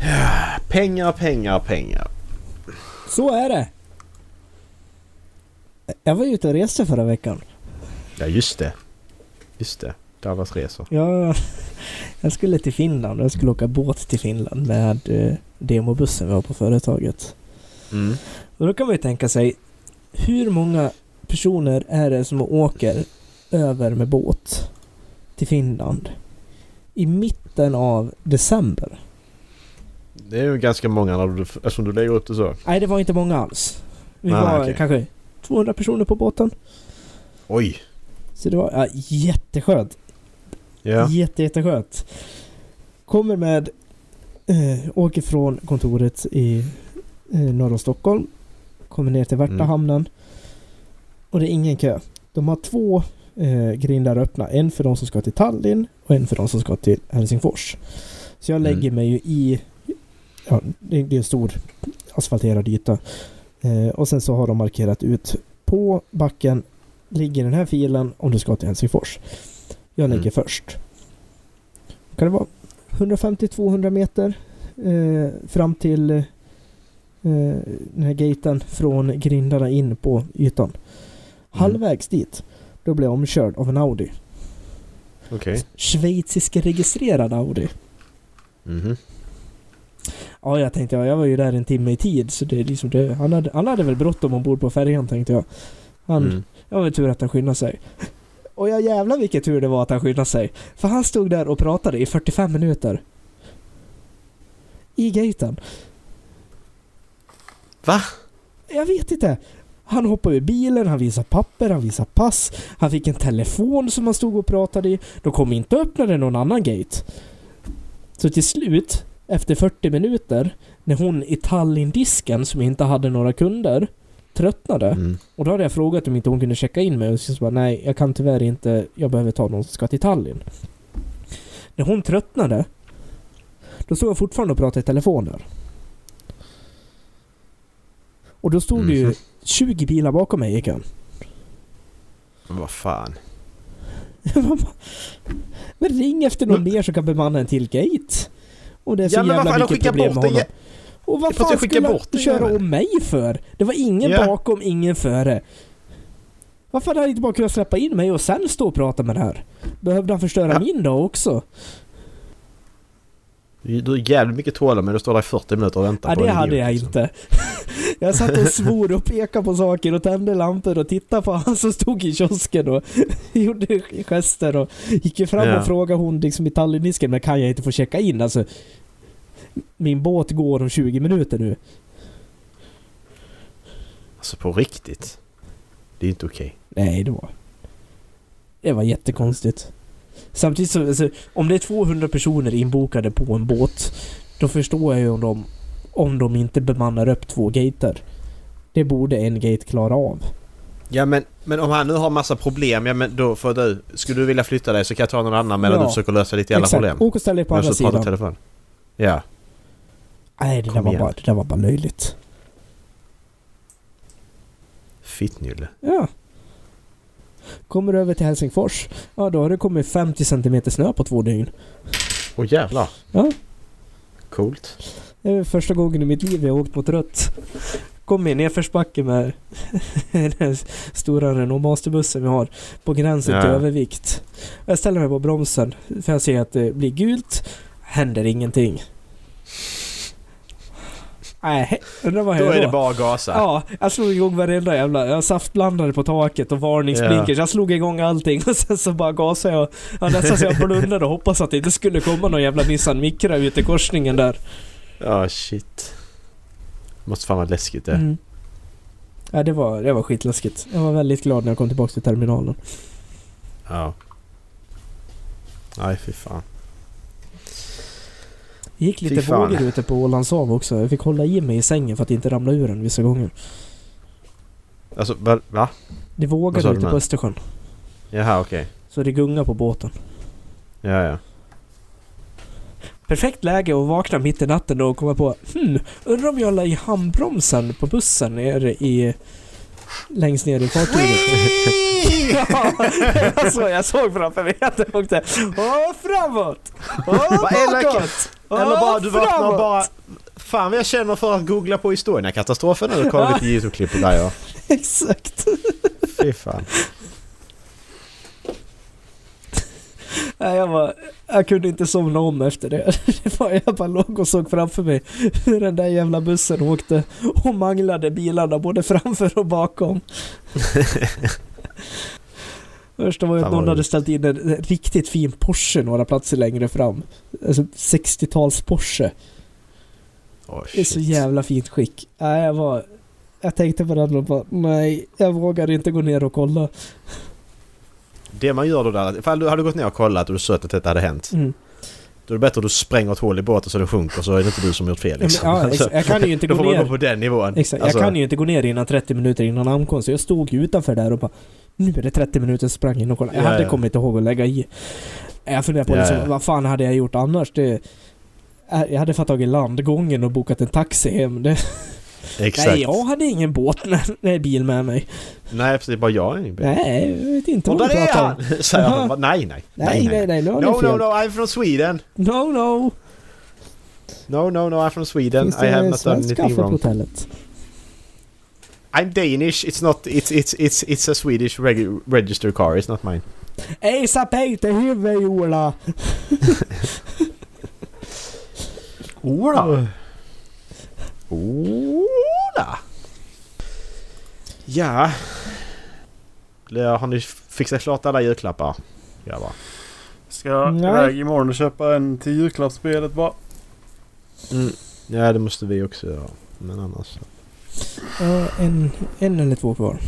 C: Ja, Pengar, pengar, pengar.
B: Så är det! Jag var ute och reste förra veckan.
C: Ja, just det. Just det. Dallas resor.
B: Jag, jag skulle till Finland och jag skulle åka båt till Finland med eh, demobussen vi har på företaget.
C: Mm.
B: Och då kan man ju tänka sig, hur många personer är det som åker över med båt till Finland i mitten av december?
C: Det är ju ganska många när du, eftersom du lägger upp det så.
B: Nej, det var inte många alls. Vi
C: Nej,
B: var
C: okej.
B: kanske 200 personer på båten.
C: Oj!
B: Så det var ja, jätteskönt.
C: Ja.
B: Jätte, jätteskönt. Kommer med... Eh, åker från kontoret i eh, norr om Stockholm. Kommer ner till Värtahamnen. Och det är ingen kö. De har två eh, grindar öppna. En för de som ska till Tallinn och en för de som ska till Helsingfors. Så jag
C: Mm.
B: lägger mig ju i... Ja, det, det är en stor asfalterad yta. Eh, och sen så har de markerat ut på backen ligger den här filen om du ska till Helsingfors. Jag lägger
C: Mm.
B: först. Kan det vara 150-200 meter eh, fram till eh, den här gaten från grindarna in på ytan. Halvvägs dit, då blir jag omkörd av en Audi.
C: Okej.
B: Schweizisk registrerad Audi.
C: Mhm.
B: Ja, jag tänkte, ja, jag var ju där en timme i tid så det är liksom det. Han hade, han hade väl bråttom ombord på färjan tänkte jag. Han,
C: Mm.
B: Det var ju tur att han skyndade sig. Och jag jävlar vilken tur det var att han skyndade sig. För han stod där och pratade i 45 minuter. I gaten.
C: Va?
B: Jag vet inte. Han hoppade ur bilen, han visade papper, han visade pass. Han fick en telefon som han stod och pratade i. De kom inte och öppnade någon annan gate. Så till slut, efter 40 minuter, när hon i Tallinn-disken som inte hade några kunder tröttnade.
C: Mm.
B: Och då hade jag frågat om inte hon kunde checka in mig och så bara nej, jag kan tyvärr inte, jag behöver ta någon som ska till Tallinn. När hon tröttnade, då stod jag fortfarande och pratade i telefon där. Och då stod det ju
C: Mhm.
B: 20 bilar bakom mig i kön.
C: Men Vad fan.
B: Jag bara, Men ring efter någon mer som kan bemanna en till gate. Och det är så
C: Ja, men vad
B: jävla
C: fan, de
B: mycket
C: skickar
B: problem med
C: bort en
B: honom. Och vad
C: Det är för att
B: fan
C: jag skickar
B: skulle
C: bort
B: han
C: den
B: köra
C: jäveln.
B: om mig för? Det var ingen
C: Ja.
B: bakom, ingen före. Varför hade han inte bara kunnat släppa in mig och sen stå och prata med det här? Behövde han förstöra
C: Ja.
B: min dag också?
C: Du du har jävligt mycket tålamod men du står där i 40 minuter och väntar
B: Nej,
C: på
B: det
C: en
B: hade
C: idiot,
B: jag
C: liksom.
B: inte. Jag satt och svor och pekade på saker och tände lampor och tittade på han som stod i kiosken och gjorde gester och gick ju fram
C: Ja.
B: och frågade hon liksom i Tallinnisken, men kan jag inte få checka in? Alltså, min båt går om 20 minuter nu.
C: Alltså på riktigt. Det är inte okej.
B: Nej, det var... Det var jättekonstigt. Samtidigt så, alltså, om det är 200 personer inbokade på en båt, då förstår jag ju om de, om de inte bemannar upp två gater. Det borde en gate klara av.
C: Ja men, men om han nu har massa problem, ja men då får du... Skulle du vilja flytta dig så kan jag ta någon annan medan
B: Ja.
C: du försöker lösa ditt jävla problem.
B: Åk och ställ dig på
C: Medan
B: andra
C: du pratar i
B: sidan.
C: telefon. Ja.
B: Nej, det där,
C: Kom
B: var
C: igen.
B: bara, det där var bara löjligt.
C: Fittnylle.
B: Ja. Kommer du över till Helsingfors, ja då har det kommit 50 cm snö på två dygn.
C: Åh jävlar.
B: Ja.
C: Coolt.
B: Det är första gången i mitt liv jag har åkt mot rött. Kom i nedförsbacke med den stora Renault Masterbussen vi har på gränsen till
C: Ja.
B: övervikt. Jag ställer mig på bromsen för jag ser att det blir gult. Händer ingenting. Nej, undrar vad jag
C: Då är det bara att gasa.
B: Ja, jag slog igång varenda jävla... Jag saftblandade på taket och varningsblinkers. Jag slog igång allting och sen så bara gasade jag. Ja, nästan så jag blundade och hoppas att det inte skulle komma någon jävla Nissan Micra ut i korsningen där.
C: Ja, shit. Måste fan vara läskigt det.
B: Mm. Ja, det var, det var skitläskigt. Jag var väldigt glad när jag kom tillbaka till terminalen.
C: Ja. Nej, fy fan.
B: Gick lite
C: Fy fan.
B: vågor ute på Ålands hav också. Jag fick hålla i mig i sängen för att inte ramla ur den vissa gånger.
C: Alltså, va? va?
B: Det
C: Vad sa
B: vågade
C: du
B: ute
C: med?
B: på Östersjön.
C: Jaha, okej.
B: Så det gungade på båten.
C: Ja, ja.
B: Perfekt läge att vakna mitt i natten då och komma på hmm, undrar om jag la i handbromsen på bussen nere i... Längst ner i fartyget. ja, det var så jag såg framför mig att jag åkte åh framåt! Åh
C: Vad elakt.
B: bakåt! Åh,
C: Eller bara, du vaknar
B: framåt!
C: och bara... Fan vad jag känner för att googla på historien här katastrofen eller kolla lite YouTube-klipp och grejer.
B: Exakt.
C: Fy fan.
B: Nej, jag, var, jag kunde inte somna om efter det. det var, jag bara låg och såg framför mig hur den där jävla bussen åkte och manglade bilarna både framför och bakom. Första var ju att
C: Fan, vad
B: någon hade
C: roligt.
B: ställt in en en riktigt fin Porsche några platser längre fram. Alltså 60-tals Porsche.
C: Åh,
B: Det är så
C: shit.
B: jävla fint skick. Nej, jag var... Jag tänkte på den och bara, nej, jag vågar inte gå ner och kolla.
C: Det man gör då där, ifall du hade gått ner och kollat och du sett att detta hade hänt.
B: Mm.
C: Då är det bättre att du spränger ett hål i båten så den sjunker så är det inte du som gjort fel liksom.
B: Ja, men- ja, ex- jag kan ju inte
C: Då
B: gå
C: får man
B: ner.
C: gå på den nivån. Alltså,
B: Exakt, jag kan ju inte gå ner innan 30 minuter innan ankomst. Så jag stod ju utanför där och bara Nu är det 30 minuter, sprang in och kollade. Jag
C: Ja,
B: hade
C: ja.
B: kommit ihåg att lägga i. Jag funderar på
C: Ja,
B: liksom,
C: ja.
B: vad fan hade jag gjort annars? Det, jag hade fått tag i landgången och bokat en taxi hem. Det,
C: Exakt.
B: nej, jag hade ingen båt, nej, nej, bil med mig.
C: Nej, precis. Bara jag är ingen bättre.
B: Nej, jag vet inte
C: Och
B: vad
C: där
B: du
C: är
B: pratar om.
C: han! Säger
B: Aha.
C: han. Bara, Nej, nej.
B: Nej, nej, nej, nu har
C: No,
B: ni
C: no,
B: fel.
C: no, I'm from Sweden.
B: No, no.
C: No, no, no, I'm from Sweden.
B: Finns
C: I have not
B: det
C: done
B: svensk
C: anything
B: kaffe på
C: wrong.
B: hotellet?
C: I'm Danish. It's not... It's, it's, it's, it's a Swedish reg register car. It's not mine.
B: Ejsa Peite huvud, Ola! Ah.
A: Ola!
C: Ola! Ja. Lea, Har ni fixat klart alla julklappar? Grabbar.
A: Ska jag
B: Nej.
A: iväg imorgon och köpa en till julklappsspelet bara?
C: Mm. Ja, det måste vi också göra. Men annars...
B: Ja, Eh, en, en eller två kvar.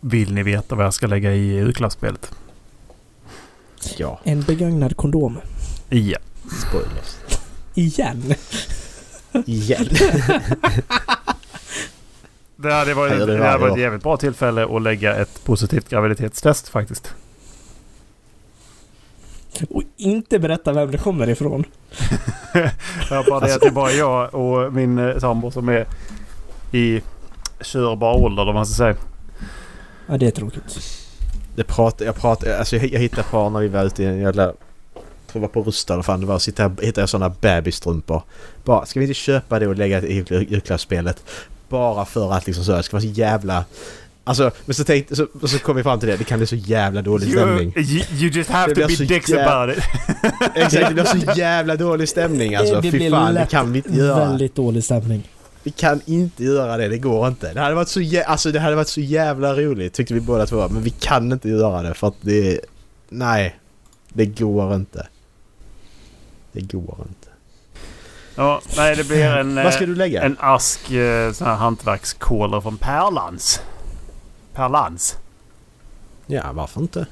A: Vill ni veta vad jag ska lägga i julklappsspelet?
C: Ja,
B: En begagnad kondom.
A: Ja.
C: spoilers.
B: Igen.
C: Igen.
A: Det hade varit,
C: Ja, det
A: det
C: var-
A: hade varit ett
C: ja.
A: jävligt bra tillfälle att lägga ett positivt graviditetstest faktiskt.
B: Och inte berätta vem det kommer ifrån.
A: Jag bara det att det är bara jag och min eh, sambo som är i körbar ålder eller vad man ska säga.
B: Ja, det är tråkigt.
C: Det prat, jag pratade, alltså jag, jag hittade par när vi var ute i en jävla... Jag var på Rusta eller fan det var. Så hittade, jag- hittade jag sådana bebisstrumpor. Bara, ska vi inte köpa det och lägga det i jul- julklappsspelet? Bara för att liksom så, här, det ska vara så jävla... Alltså, men så tänkte, så, så kom vi fram till det, det kan bli så jävla dålig
A: You,
C: stämning.
A: you, you just have
C: Det
A: to
C: blir
A: be
C: så
A: dicks
C: jävla-
A: about it.
C: Exakt, det blir så jävla dålig stämning alltså.
B: Det
C: Fy
B: blir
C: fan, det
B: lätt
C: kan vi inte göra.
B: Väldigt dålig stämning.
C: Vi kan inte göra det, det går inte. Det hade varit så jävla, alltså, det hade varit så jävla roligt tyckte vi båda två. Men vi kan inte göra det för att det... Nej. Det går inte. Det går inte.
A: Ja, nej, det blir en, eh,
C: Vad ska du lägga?
A: en ask eh, sån här hantverkskolor från Pärlans. Pärlans.
C: Ja, varför inte?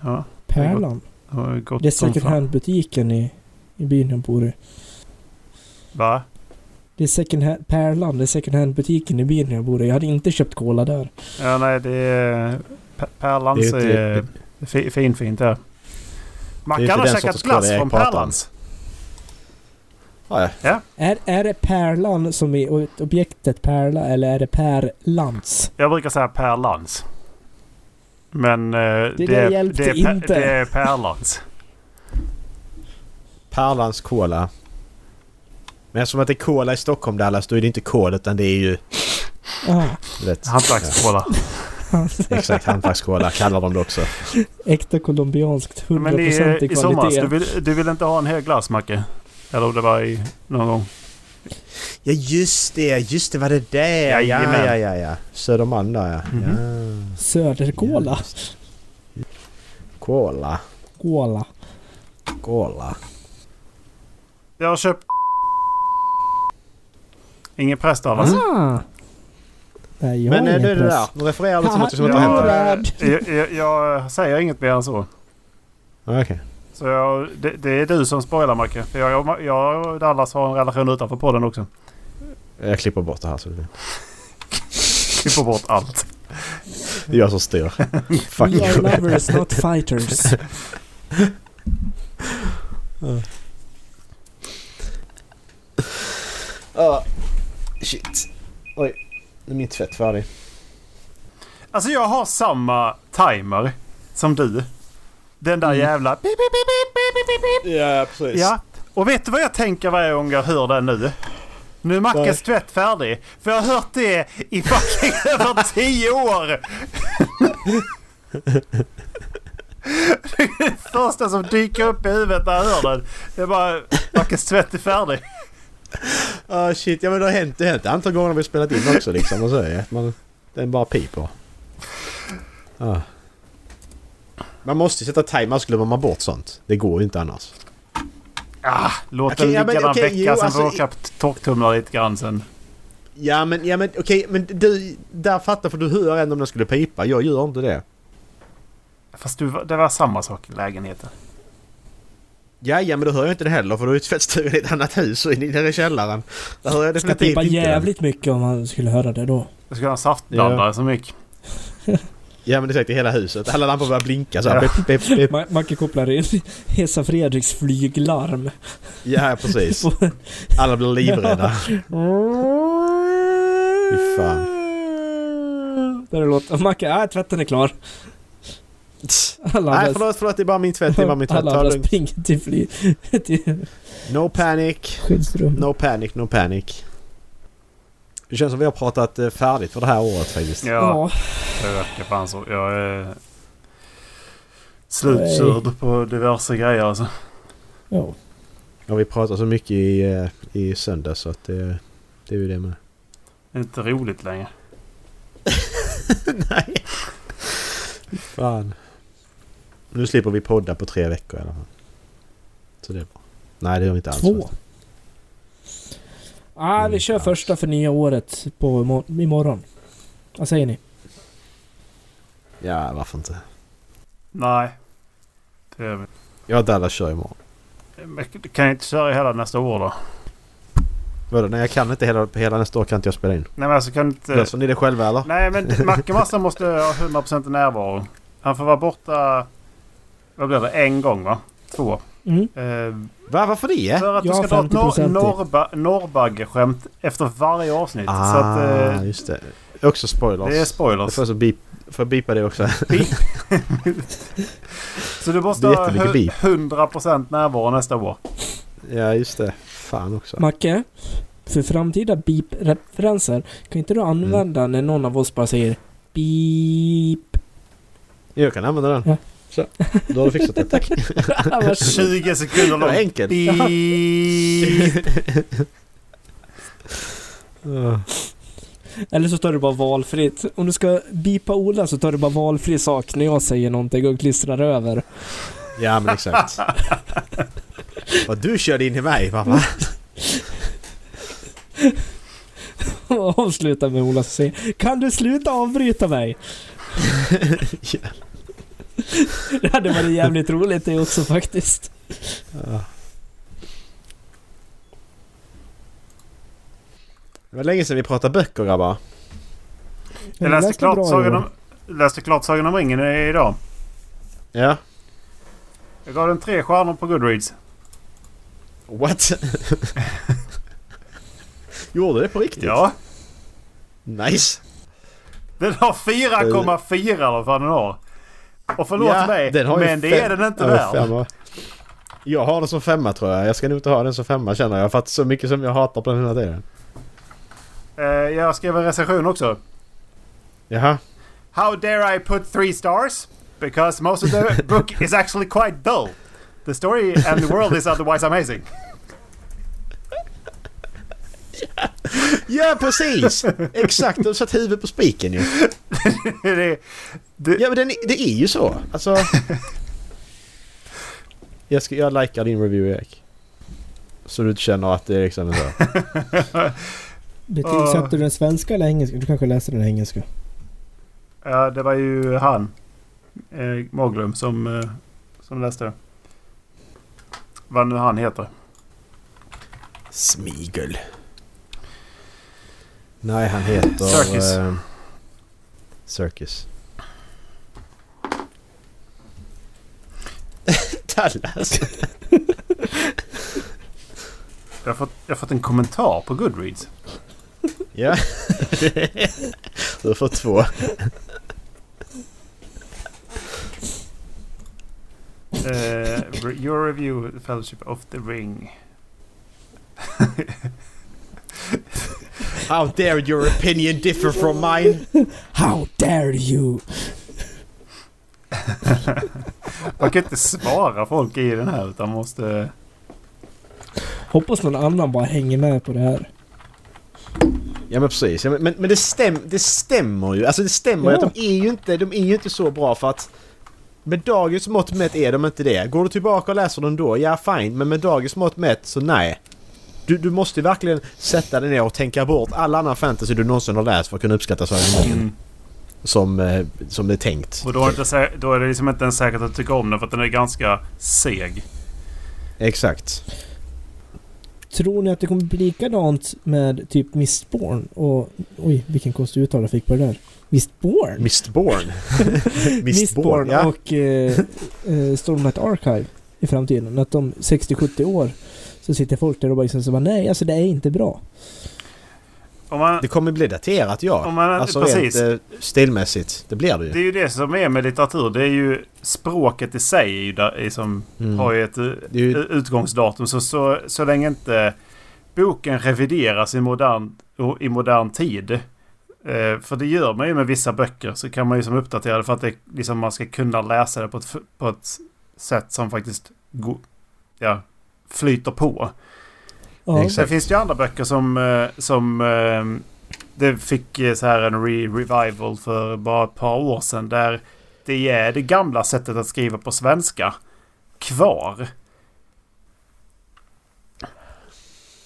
A: Ja,
B: Pärlan.
A: det har gått
B: Det är
A: som
B: second
A: fan.
B: hand-butiken i, i byn jag bor i.
A: Va?
B: Det är second hand, Pärlan, det är second hand-butiken i byn jag bor i. Jag hade inte köpt cola där.
A: Ja, nej, det är... P-
C: Det är
A: Pärlans
C: inte-
A: är, fi- finfint där.
C: Det är
A: Mackan
C: inte
A: har
C: den
A: käkat
C: sortens kolla
A: glass
C: jag
A: från
C: pratar om.
A: Pärlans.
C: Ja, ja.
B: Är, är det Pärlan som är objektet Pärla eller är det Pärlans?
A: Jag brukar säga Pärlans. Men eh, det,
B: där
A: är-
B: hjälpte
A: det, är, pä-
B: inte.
A: det är pärlans.
C: Pärlans Cola. Men eftersom att det är Cola i Stockholm Dallas då är det inte kol utan det är ju...
B: Ah,
C: du Vet,
A: Hantverkskola.
C: ja, exakt, hantverks-Cola kallar de det också.
B: äkta colombianskt, 100%
A: Men i, eh,
B: i kvalitet.
A: i somras, du vill, du vill inte ha en hel glass Macke? Eller om det var i, någon gång?
C: Ja just det, just det var det där! Ja,
A: Jajamän.
C: ja, ja, ja. ja. Södermalm där ja.
A: Mhm.
C: ja.
B: Söderkola.
C: Cola.
B: Kola.
C: Cola.
A: Jag har köpt... Ingen präst av alltså.
B: Ah. Nej, jag
C: Men
B: har
C: eh,
B: ingen
C: du är det där.
B: press.
C: Du refererar lite som att det
B: Ja,
C: inte har
B: ja.
C: hänt.
A: jag, jag, jag, jag säger inget mer än så.
C: Okej.
A: Så jag, det, det är du som spoilar Macke. För jag, jag, jag och Dallas har en relation utanför podden också.
C: Jag klipper bort det här så det blir...
A: Vi får bort allt.
C: Det är jag som styr. Fuck
B: We are
C: you.
B: lovers, not fighters.
C: Ja. Ah, Shit. Oj. Nu är min tvätt färdig.
A: Alltså jag har samma timer som du. Den där jävla... Pip, pip, pip, pip, pip, pip, pip.
C: Ja, precis.
A: Ja, och vet du vad jag tänker varje gång jag hör den nu? Nu är Mackes tvätt färdig. För jag har hört det i fucking över tio år! det är det första som dyker upp i huvudet när jag hör den. Det är bara Mackes tvätt är färdig.
C: Ah shit, ja men det har hänt, det har hänt antal gånger vi har spelat in också liksom. Och så är det att man, den bara piper. Ah. Man måste ju sätta timers, glömmer man bort sånt. Det går ju inte annars.
A: Ah, låt
C: Okej,
A: den
C: ja,
A: ligga där
C: men
A: en
C: okej,
A: vecka,
C: jo,
A: sen
C: alltså,
A: får jag åka torktumlare lite grann sen.
C: Ja men, ja men okej, men du, där fattar för du hör ändå om den skulle pipa. Jag gör inte det.
A: Fast du, det var samma sak i lägenheten.
C: Ja, ja men då hör jag inte det heller för då är ju tvättstugan i ett annat hus och i nere i källaren. Där hör jag
B: Det skulle
C: definitivt
B: pippa
C: inte den.
B: jävligt mycket om man skulle höra det då.
A: Jag skulle ha en saftblandare som gick.
C: Ja men det är säkert i hela huset. Alla lampor börjar blinka så här.
A: Ja.
C: Pip, pip, pip.
B: Ma- Macke kopplar in Hesa Fredriks flyglarm.
C: Ja precis. Alla blir livrädda. Fy fan.
B: Där det låter... Macke, ah, tvätten är klar. Alla
C: Nej
B: andra,
C: förlåt, förlåt det är bara min tvätt. Det är bara min tvätt.
B: alla
C: Ta det
B: andra
C: lugnt.
B: springer till, fly, till
C: No panic.
B: skyddsrummet.
C: No panic, no panic. Det känns som vi har pratat eh, färdigt för det här året faktiskt.
A: Ja.
B: Ja.
A: Det verkar fan så. Jag är
B: slutkörd
A: slutkörd på diverse grejer alltså.
B: ja.
C: Ja, vi pratade så mycket i, eh, i söndags så att det, det är ju det med.
A: Inte roligt längre.
C: Nej. Fan. Nu slipper vi podda på tre veckor i alla fall. Så det är bra. Nej det gör vi inte alls.
B: Två. Ah, vi
C: Mm,
B: kör
C: alls.
B: första för nya året på imor- imorgon. Vad säger ni?
C: Ja varför inte.
A: Nej. Det är,
C: Jag och Dallas kör imorgon.
A: men kan jag inte köra hela nästa år då?
C: Vadå? Nej jag kan inte hela, på hela nästa år kan inte jag spela in.
A: Nej men alltså kan inte...
C: Löser ni det själva eller?
A: Nej men Macke Massa måste ha 100% närvaro. Han får vara borta... Vad blir det? En gång va? Två.
B: Mm.
A: Eh,
C: Va, varför det?
A: för att
B: Jag
A: du ska
B: har
A: dra ett
B: 50%
A: nor-
B: i.
A: norba- norrbaggeskämt efter varje avsnitt.
C: Ah,
A: Så att... Eh,
C: just det. Också spoilers.
A: det är
C: Jag
A: spoilers.
C: får, så beep, får jag beepa det också.
A: Så du måste
C: Det är
A: ha
C: jättemycket
A: hu-
C: beep.
A: 100% närvaro nästa år.
C: ja, just det. Fan också.
B: Macke? För framtida beep-referenser, kan inte du
A: Mm.
B: använda när någon av oss bara säger beep?
C: Jag kan använda den.
B: Ja.
C: Så. Då har du fixat det. Tack.
B: Annars
A: 20 sekunder
C: Det var
A: långt.
C: enkelt.
A: Beep.
B: Eller så tar du bara valfritt. Om du ska bipa Ola så tar du bara valfri sak när jag säger någonting och klistrar över.
C: Ja, men exakt. Vad du körde in i mig, pappa.
B: Och avslutar med Ola som säger Kan du sluta avbryta mig?
C: Ja.
B: Det hade varit jävligt roligt det också faktiskt.
C: Det var länge sedan vi pratade böcker, grabbar.
A: Jag läste klart, Sagan om, läste klart Sagan om ringen idag.
C: Ja.
A: Jag gav den tre stjärnor på Goodreads.
C: What? Gjorde du det på riktigt?
A: Ja.
C: Nice.
A: Den har 4,4 eller vad fan den har. Och förlåt
C: Ja,
A: mig,
C: den har ju
A: men det
C: fem-
A: är den inte
C: över
A: värd.
C: femma. Jag har den som femma tror jag. Jag ska nog inte ha den som femma känner jag. För att så mycket som jag hatar på den hela tiden.
A: Eh, jag skrev en recension också.
C: Jaha.
A: How dare I put three stars? Because most of the book is actually quite dull. The story and the world is otherwise amazing.
C: Ja precis! Exakt, du har satt huvudet på spiken ju.
A: det, det,
C: Ja men den, det är ju så. Alltså... Jag, ska, jag likar din review Erik. Så du inte känner att det är liksom så.
D: Betygsatte du den svenska eller engelska? Du kanske läste den engelska?
A: ja, det var ju han, eh, Maglum, som, eh, som läste det. Vad nu han heter.
C: Smigel. Nej han heter...
A: Circus.
C: eh, circus. Dallas.
A: Jag har fått, jag har fått en kommentar på Goodreads.
C: Ja. du får två.
A: Eh, your review, Fellowship of the Ring.
C: How dare your opinion differ from mine?
D: How dare you!
A: Man kan inte svara folk i den här utan måste...
D: Hoppas någon annan bara hänger med på det här.
C: Ja men precis. Ja, men, men det, stäm, det stämmer ju. Alltså det stämmer ju
D: Ja.
C: att de är ju, inte, de är ju inte så bra för att med dagens mått mätt är de inte det. Går du tillbaka och läser dem då, ja fine. Men med dagens mått mätt så nej. Du, du måste ju verkligen sätta dig ner och tänka bort all annan fantasy du någonsin har läst för att kunna uppskatta saker som, eh, som det är tänkt.
A: Och då är, det inte, sä- då är det liksom inte ens säkert att tycka om den för att den är ganska seg.
C: Exakt.
D: Tror ni att det kommer bli likadant med typ Mistborn och... Oj, vilken konstig uttal jag fick på det där. Mistborn?
C: Mistborn. Mistborn, ja.
D: och eh, eh, Stormlight Archive i framtiden. Att om 60-70 år så sitter folk där och bara liksom så bara, nej, alltså det är inte bra.
A: Om man,
C: Det kommer bli daterat ja.
A: Om man-
C: alltså
A: precis.
C: rent eh, stilmässigt. Det blir det ju.
A: det är ju det som är med litteratur. Det är ju språket i sig är ju där, är som
C: Mm.
A: har ju ett eh,
C: Det är ju-
A: utgångsdatum. Så, så, så länge inte boken revideras i modern, o- i modern tid. eh, För det gör man ju med vissa böcker. Så kan man ju som uppdatera det för att det, liksom, man ska kunna läsa det på ett, f- på ett sätt som faktiskt go, ja, flyter på.
D: Ja,
C: Exakt.
A: Sen finns det ju andra böcker som, eh, som eh, det fick eh, så här en re- revival för bara ett par år sedan. Där det är det gamla sättet att skriva på svenska kvar.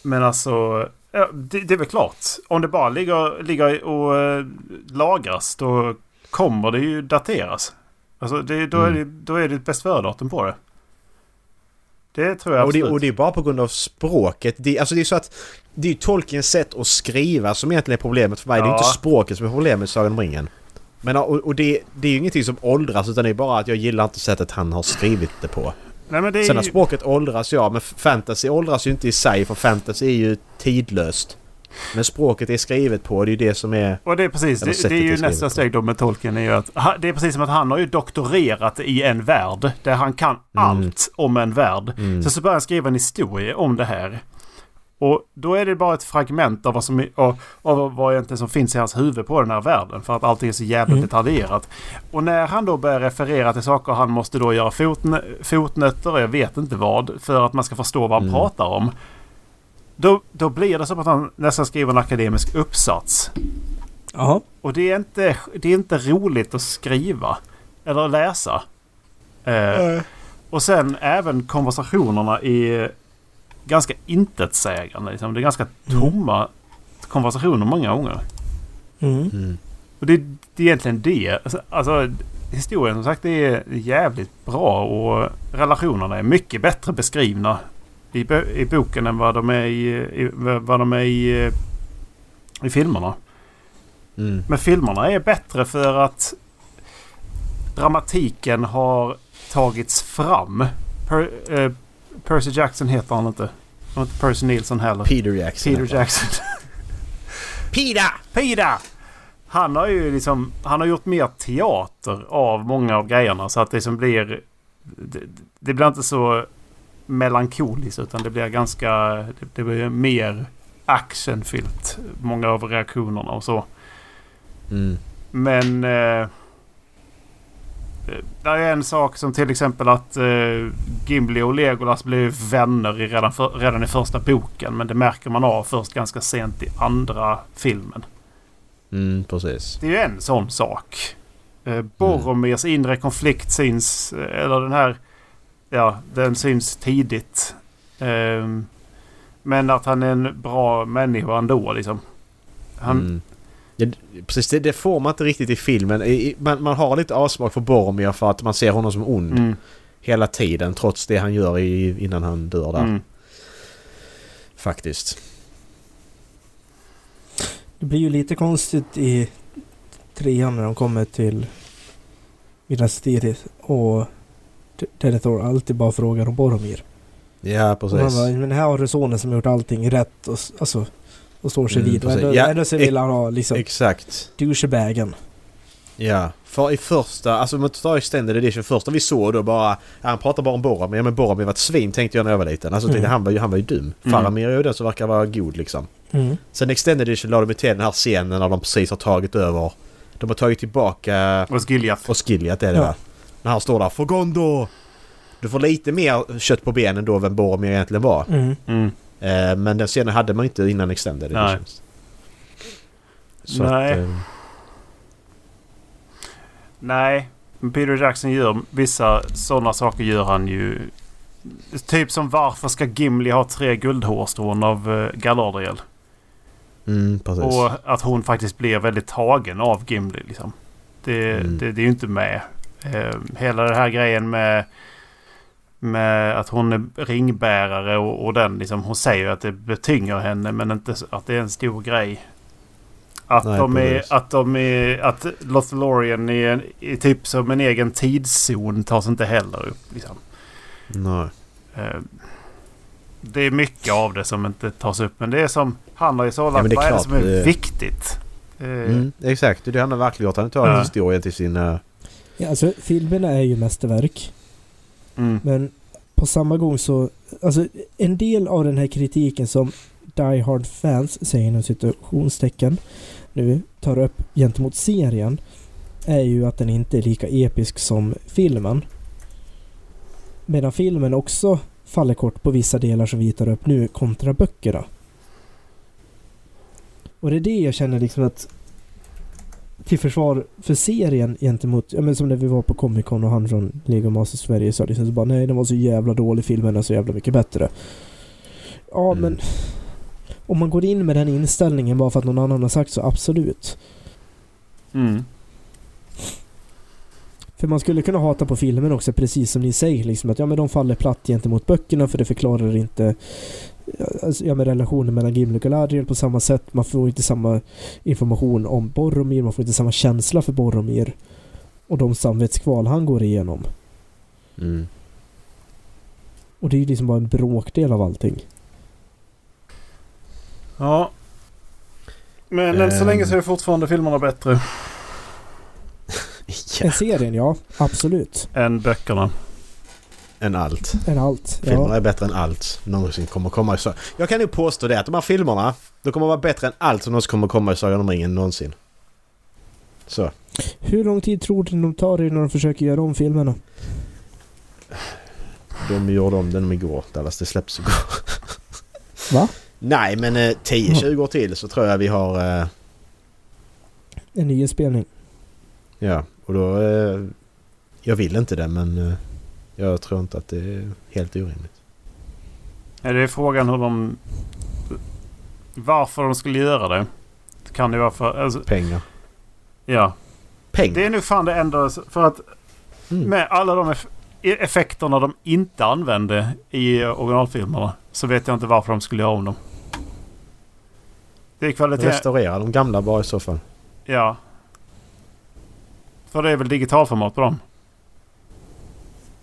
A: Men alltså, ja, det, det är väl klart. Om det bara ligger, ligger och eh, lagras då kommer det ju dateras. Alltså det, då, är
C: Mm.
A: det, då är det ett bäst före-datum på det. Det tror jag
C: Och det,
A: absolut.
C: och det är bara på grund av språket. Det, alltså det är så att det är Tolkiens sätt att skriva som egentligen är problemet för mig. Det är
A: Ja.
C: inte språket som är problemet i Sagan om ringen. Men, och och det, det är ju ingenting som åldras utan det är bara att jag gillar inte sättet han har skrivit det på.
A: Nej, men det är
C: Sen att
A: ju-
C: språket åldras ja, men fantasy åldras ju inte i sig för fantasy är ju tidlöst. Men språket är skrivet på, det är ju det som är...
A: Och det är precis,
C: Eller
A: det,
C: sättet
A: det är
C: det är
A: ju
C: skrivet
A: nästa
C: på.
A: steg då med Tolkien är ju att ha- det är precis som att han har ju doktorerat i en värld där han kan allt om en värld.
C: Mm.
A: Sen så börjar han skriva en historia om det här. Och då är det bara ett fragment av vad som, är- av, av vad egentligen som finns i hans huvud på den här världen. För att allting är så jävla
D: Mm.
A: detaljerat. Och när han då börjar referera till saker han måste då göra fotn, fotnötter och jag vet inte vad. För att man ska förstå vad han
C: Mm.
A: pratar om. Då, då blir det som att han nästan skriver en akademisk uppsats.
D: ja.
A: Och det är inte, det är inte roligt att skriva. Eller att läsa. Eh, och sen även konversationerna är ganska intetsägande. Liksom. Det är ganska tomma konversationer många gånger.
D: Mm.
C: Mm.
A: Och det, det är egentligen det. Alltså, Alltså, historien som sagt det är jävligt bra och relationerna är mycket bättre beskrivna i, bö- i boken än vad de är i, i, vad de är i, eh, i filmerna.
C: Mm.
A: Men filmerna är bättre för att dramatiken har tagits fram. Per, eh, Percy Jackson heter han inte. Och inte Percy Nilsson heller.
C: Peter Jackson.
A: Peter Jackson.
C: Peter!
A: Pida! Han har ju liksom, han har gjort mer teater av många av grejerna så att det som blir... Det, det blir inte så melankoliskt utan det blir ganska... Det, det blir mer actionfyllt. Många av reaktionerna och så.
C: Mm.
A: Men... Eh, det är en sak som till exempel att eh, Gimli och Legolas blir vänner i redan, för, redan i första boken. Men det märker man av först ganska sent i andra filmen.
C: Mm, precis.
A: Det är ju en sån sak. Eh, Boromirs inre konflikt syns, eh, eller den här, ja den syns tidigt. Eh, men att han är en bra människa ändå liksom. Han,
C: Mm. Det, precis, det, det får man inte riktigt i filmen. I, i- man, man har lite avsmak för Boromir för att man ser honom som ond
A: mm,
C: hela tiden trots det han gör i, innan han dör där.
A: mm.
C: Faktiskt.
E: Det blir ju lite konstigt i trean när de kommer till Minas Tirith och T- Denethor alltid bara frågar om Boromir.
C: Ja,
E: Och han
C: precis.
E: bara, men här har du sonen som har gjort allting rätt och, s- alltså, och står sig
C: Mm,
E: vid. Och
C: precis.
E: ändå,
C: Ja,
E: ändå så
C: ex-
E: vill han ha liksom
C: Exakt.
E: douchebagen.
C: Ja. För i första, alltså om man tar extended edition, första vi såg då bara... ja, Han pratar bara om Boromir. Ja, men Boromir var ett svin tänkte jag när jag var liten. Alltså
E: Mm.
C: tänkte, han, var ju, han var ju dum.
A: Mm.
C: Faramir är ju den som verkar vara god liksom.
E: Mm.
C: Sen extended edition la de ju till den här scenen när de precis har tagit över. De har tagit tillbaka
A: Och Skiljath.
C: och Skilliat är det
E: Ja.
C: va? När han står där för Gondor! Du får lite mer kött på benen då vem Boromir egentligen var.
E: Mm.
A: Mm.
C: Eh, men den scenen hade man ju inte innan extended
A: Nej.
C: editions. Så att,
A: Nej.
C: eh,
A: Nej, men Peter Jackson gör vissa sådana saker gör han ju. Typ som varför ska Gimli ha tre guldhårstrån av eh, Galadriel?
C: mm, precis.
A: Och att hon faktiskt blir väldigt tagen av Gimli. Liksom. Det,
C: Mm.
A: det, det är ju inte med. Eh, hela den här grejen med, med att hon är ringbärare och, och den liksom, hon säger ju att det betynger henne men inte så- att det är en stor grej. Att,
C: Nej,
A: de är,
C: precis.
A: att de är... Att Lothlorien är, en- är typ som en egen tidszon tas inte heller upp. Liksom.
C: Nej.
A: Eh, Det är mycket av det som inte tas upp. Men det är som han har ju sållat.
C: Ja, men det är
A: vad är det
C: klart,
A: som är
C: det-
A: viktigt? Eh,
C: Mm, exakt, det är det han har verkligen gjort. Han tar
A: Ja.
C: historien till eh, sina...
B: Ja, alltså, filmerna är ju mästerverk.
A: mm,
B: Men på samma gång så... Alltså, en del av den här kritiken som Die Hard-fans, säger inom situationstecken, nu tar upp gentemot serien är ju att den inte är lika episk som filmen. Medan filmen också faller kort på vissa delar som vi tar upp nu kontra böckerna. Och det är det jag känner liksom att till försvar för serien gentemot, ja men som när vi var på Comic Con och han från Lego Masters Sverige sa liksom så bara nej den var så jävla dålig filmen är så jävla mycket bättre. Ja
C: Mm.
B: men om man går in med den inställningen bara för att någon annan har sagt så, absolut.
A: mm.
B: För man skulle kunna hata på filmen också, precis som ni säger. Liksom, att ja, men de faller platt gentemot böckerna för det förklarar inte alltså, ja, men relationen mellan Gimli och Galadriel på samma sätt. Man får inte samma information om Boromir, man får inte samma känsla för Boromir. Och de samvetskval han går igenom.
C: Mm.
B: Och det är ju liksom bara en bråkdel av allting.
A: Ja. Men än så
C: Ehm.
A: länge så är fortfarande filmerna bättre
C: Ja,
B: Än serien, ja. Absolut.
A: än böckerna.
C: än allt.
B: Än allt.
C: Filmerna
B: Ja.
C: är bättre än allt någonsin kommer komma i Sagan. Jag kan ju påstå det att de här filmerna, de kommer vara bättre än allt som någonsin kommer komma i Sagan om ringen någonsin. Så.
B: Hur lång tid tror du de tar innan de försöker göra om filmerna?
C: De gjorde om den igår, Dallas. Det släpps igår.
B: Va?
C: Nej, men eh, 10-20 år till så tror jag vi har... eh,
B: En ny inspelning?
C: Ja, och då... eh, Jag vill inte det, men eh, jag tror inte att det är helt orimligt.
A: Är det är frågan hur de... Varför de skulle göra det. Kan det vara för... Alltså,
C: Pengar.
A: ja. Det
C: Pengar!
A: är nu fan det enda... För att
C: Mm.
A: med alla de eff- e-, effekterna de inte använde i eh, originalfilmerna så vet jag inte varför de skulle göra om dem. Det är kvalitet...
C: Restaurera de gamla bara i så fall.
A: Ja. För det är väl digitalformat på dem?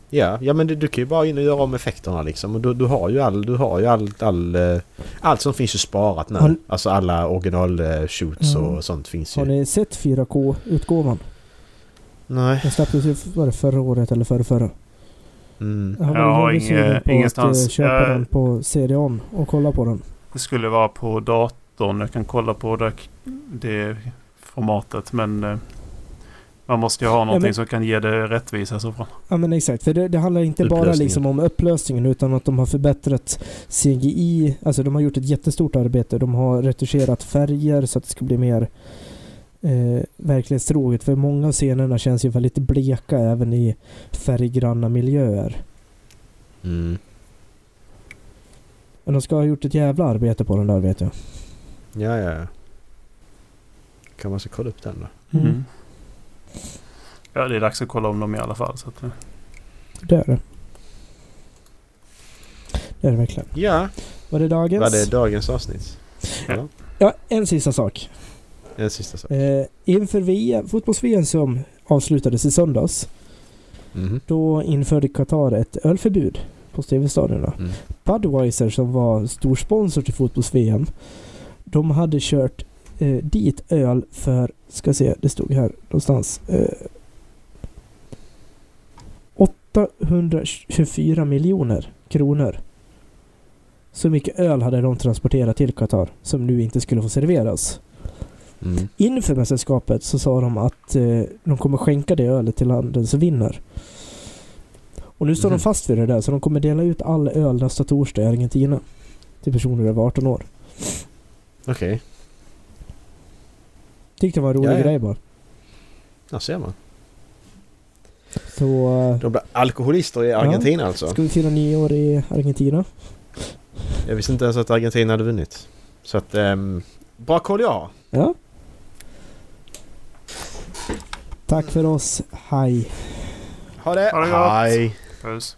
C: Ja, ja men du, du kan ju bara in och göra om effekterna liksom. Och du, du har ju, all, du har ju allt, all, eh, allt som finns ju sparat nu.
B: Har ni-
C: Alltså alla original eh, shoots
B: Mm.
C: och sånt finns ju.
B: Har ni sett 4K-utgåvan?
C: Nej.
B: Den släpptes ju var det förra året eller förra, förra.
C: Mm.
B: Jag har
A: Jag
B: varit
A: har
B: väldigt
A: ingen-
B: sugen på
A: ingenstans.
B: att eh, köpa
A: Jag-
B: den på CD-ON och kolla på den.
A: Det skulle vara på datorn. Jag kan kolla på det, det formatet. Men eh, man måste ju ha någonting
B: men-
A: som kan ge det rättvisa. Så bra.
B: Ja men exakt, för det, det handlar inte bara
C: Upplösningen.
B: liksom om upplösningen utan att de har förbättrat CGI. Alltså de har gjort ett jättestort arbete. De har retuscherat färger så att det ska bli mer eh, verklighetstroget. För många av scenerna känns ju väldigt bleka även i färggranna miljöer.
C: Mm.
B: Men de ska ha gjort ett jävla arbete på den där vet jag.
C: Ja, ja, ja. Kan man så kolla upp den då?
B: Mm.
A: Mm. Ja, det är dags att kolla om dem i alla fall. Så att, eh.
B: Det är det. Det är det verkligen.
C: Ja,
B: Var det dagens?
C: var det dagens avsnitt?
B: Ja, en sista sak.
C: En sista sak.
B: Eh, inför VM, fotbolls-VM som avslutades i söndags,
C: Mhm.
B: då införde Qatar ett ölförbud på TV-stadionerna.
C: Mm.
B: Budweiser som var stor sponsor till fotbolls-VM, de hade kört eh, dit öl för, ska se, det stod här någonstans, eh, 824 miljoner kronor. Så mycket öl hade de transporterat till Qatar som nu inte skulle få serveras.
C: Mm.
B: Inför mästerskapet så sa de att eh, de kommer skänka det ölet till landen som vinner. Och nu står
C: Mhm.
B: de fast vid det där så de kommer dela ut all öl nästa torsdag i Argentina. Till personer över 18 år.
C: Okej,
B: Tyckte det var en rolig
C: Ja, ja.
B: grej bara.
C: där ser man.
B: Så eh,
C: De blir alkoholister i Argentina alltså.
B: ska vi fira nyår i Argentina.
C: Jag visste inte ens att Argentina hade vunnit. Så att, ehm, bra koll jag har.
B: Ja. Tack för oss. Hej.
C: Ha det!
A: Ha det gott.
C: Hej!
A: Puss.